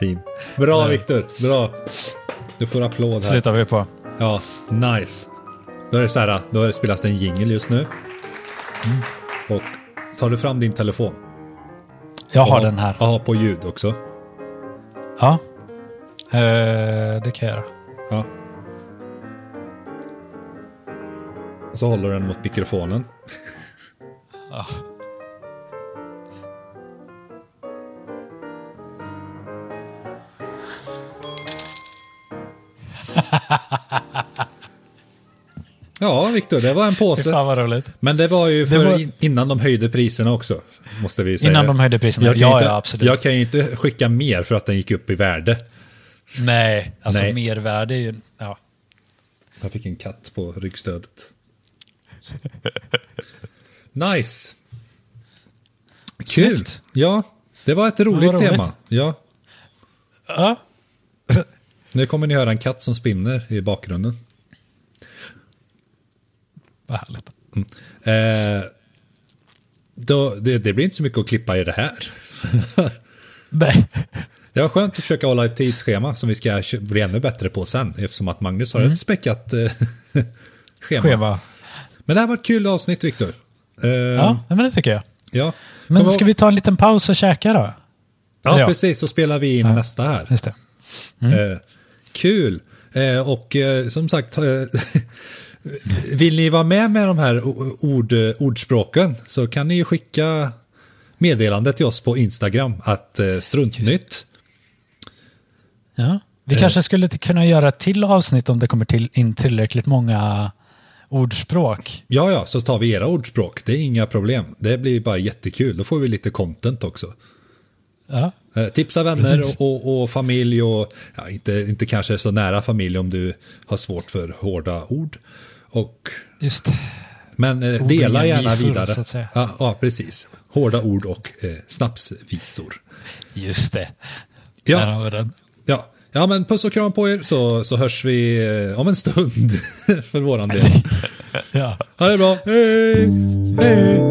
[SPEAKER 2] Fin. Bra, Viktor. Bra. Du får applåd här.
[SPEAKER 1] slutar vi på.
[SPEAKER 2] Ja, nice. Då är det så här, då är det spelas det en jingle just nu.
[SPEAKER 1] Mm.
[SPEAKER 2] Och tar du fram din telefon?
[SPEAKER 1] Jag har den här.
[SPEAKER 2] Ja, på ljud också.
[SPEAKER 1] Ja. Eh, det kan jag göra.
[SPEAKER 2] Ja. Och så håller du den mot mikrofonen. Ja, Viktor, det var en
[SPEAKER 1] Fy
[SPEAKER 2] påse.
[SPEAKER 1] fan vad roligt.
[SPEAKER 2] Men det var ju för
[SPEAKER 1] var-
[SPEAKER 2] in- innan de höjde priserna också. Måste vi säga.
[SPEAKER 1] Innan de höjde priserna.
[SPEAKER 2] Jag kan ju
[SPEAKER 1] Ja,
[SPEAKER 2] inte,
[SPEAKER 1] ja, absolut.
[SPEAKER 2] Jag kan ju inte skicka mer för att den gick upp i värde.
[SPEAKER 1] Nej, alltså
[SPEAKER 2] Nej.
[SPEAKER 1] mervärde är ju... Ja.
[SPEAKER 2] Jag fick en katt på ryggstödet. Nice! Kul!
[SPEAKER 1] Snyggt.
[SPEAKER 2] Ja, det var ett roligt
[SPEAKER 1] roligt.
[SPEAKER 2] tema. Ja.
[SPEAKER 1] Ja.
[SPEAKER 2] Nu kommer ni höra en katt som spinner i bakgrunden.
[SPEAKER 1] Vad härligt.
[SPEAKER 2] Eh, då, det, det blir inte så mycket att klippa i det här.
[SPEAKER 1] Nej.
[SPEAKER 2] Det var skönt att försöka hålla ett tidsschema som vi ska kö- bli ännu bättre på sen eftersom att Magnus
[SPEAKER 1] Mm.
[SPEAKER 2] har ett späckat eh, schema.
[SPEAKER 1] Skeva.
[SPEAKER 2] Men det här var ett kul avsnitt Viktor. Eh,
[SPEAKER 1] Ja, nej, men det tycker jag.
[SPEAKER 2] ja.
[SPEAKER 1] Men
[SPEAKER 2] Kom
[SPEAKER 1] ska
[SPEAKER 2] ihåg-
[SPEAKER 1] vi ta en liten paus och käka då?
[SPEAKER 2] Ja,
[SPEAKER 1] Ja.
[SPEAKER 2] precis. Så spelar vi in nästa här.
[SPEAKER 1] Just det.
[SPEAKER 2] Eh, kul! Eh, och eh, som sagt, eh, vill ni vara med med de här o- ord, ordspråken så kan ni ju skicka meddelandet till oss på Instagram att eh, struntnytt.
[SPEAKER 1] Ja. Eh. Vi kanske skulle t- kunna göra ett till avsnitt om det kommer till, in tillräckligt många ordspråk.
[SPEAKER 2] Ja, ja, så tar vi era ordspråk. Det är inga problem. Det blir bara jättekul. Då får vi lite content också.
[SPEAKER 1] Ja.
[SPEAKER 2] Eh, Tipsa vänner och, och, och familj och ja, inte, inte kanske så nära familj om du har svårt för hårda ord. Och
[SPEAKER 1] Just det.
[SPEAKER 2] Men eh,
[SPEAKER 1] Orden
[SPEAKER 2] dela
[SPEAKER 1] är
[SPEAKER 2] gärna
[SPEAKER 1] visor,
[SPEAKER 2] vidare.
[SPEAKER 1] så att säga.
[SPEAKER 2] Ja, ja, precis. Hårda ord och eh, snapsvisor.
[SPEAKER 1] Just det.
[SPEAKER 2] Ja.
[SPEAKER 1] Där har vi den.
[SPEAKER 2] Ja. ja, men puss och kram på er så, så hörs vi eh, om en stund för våran del.
[SPEAKER 1] Ja.
[SPEAKER 2] Ha det bra. Hej! Hej!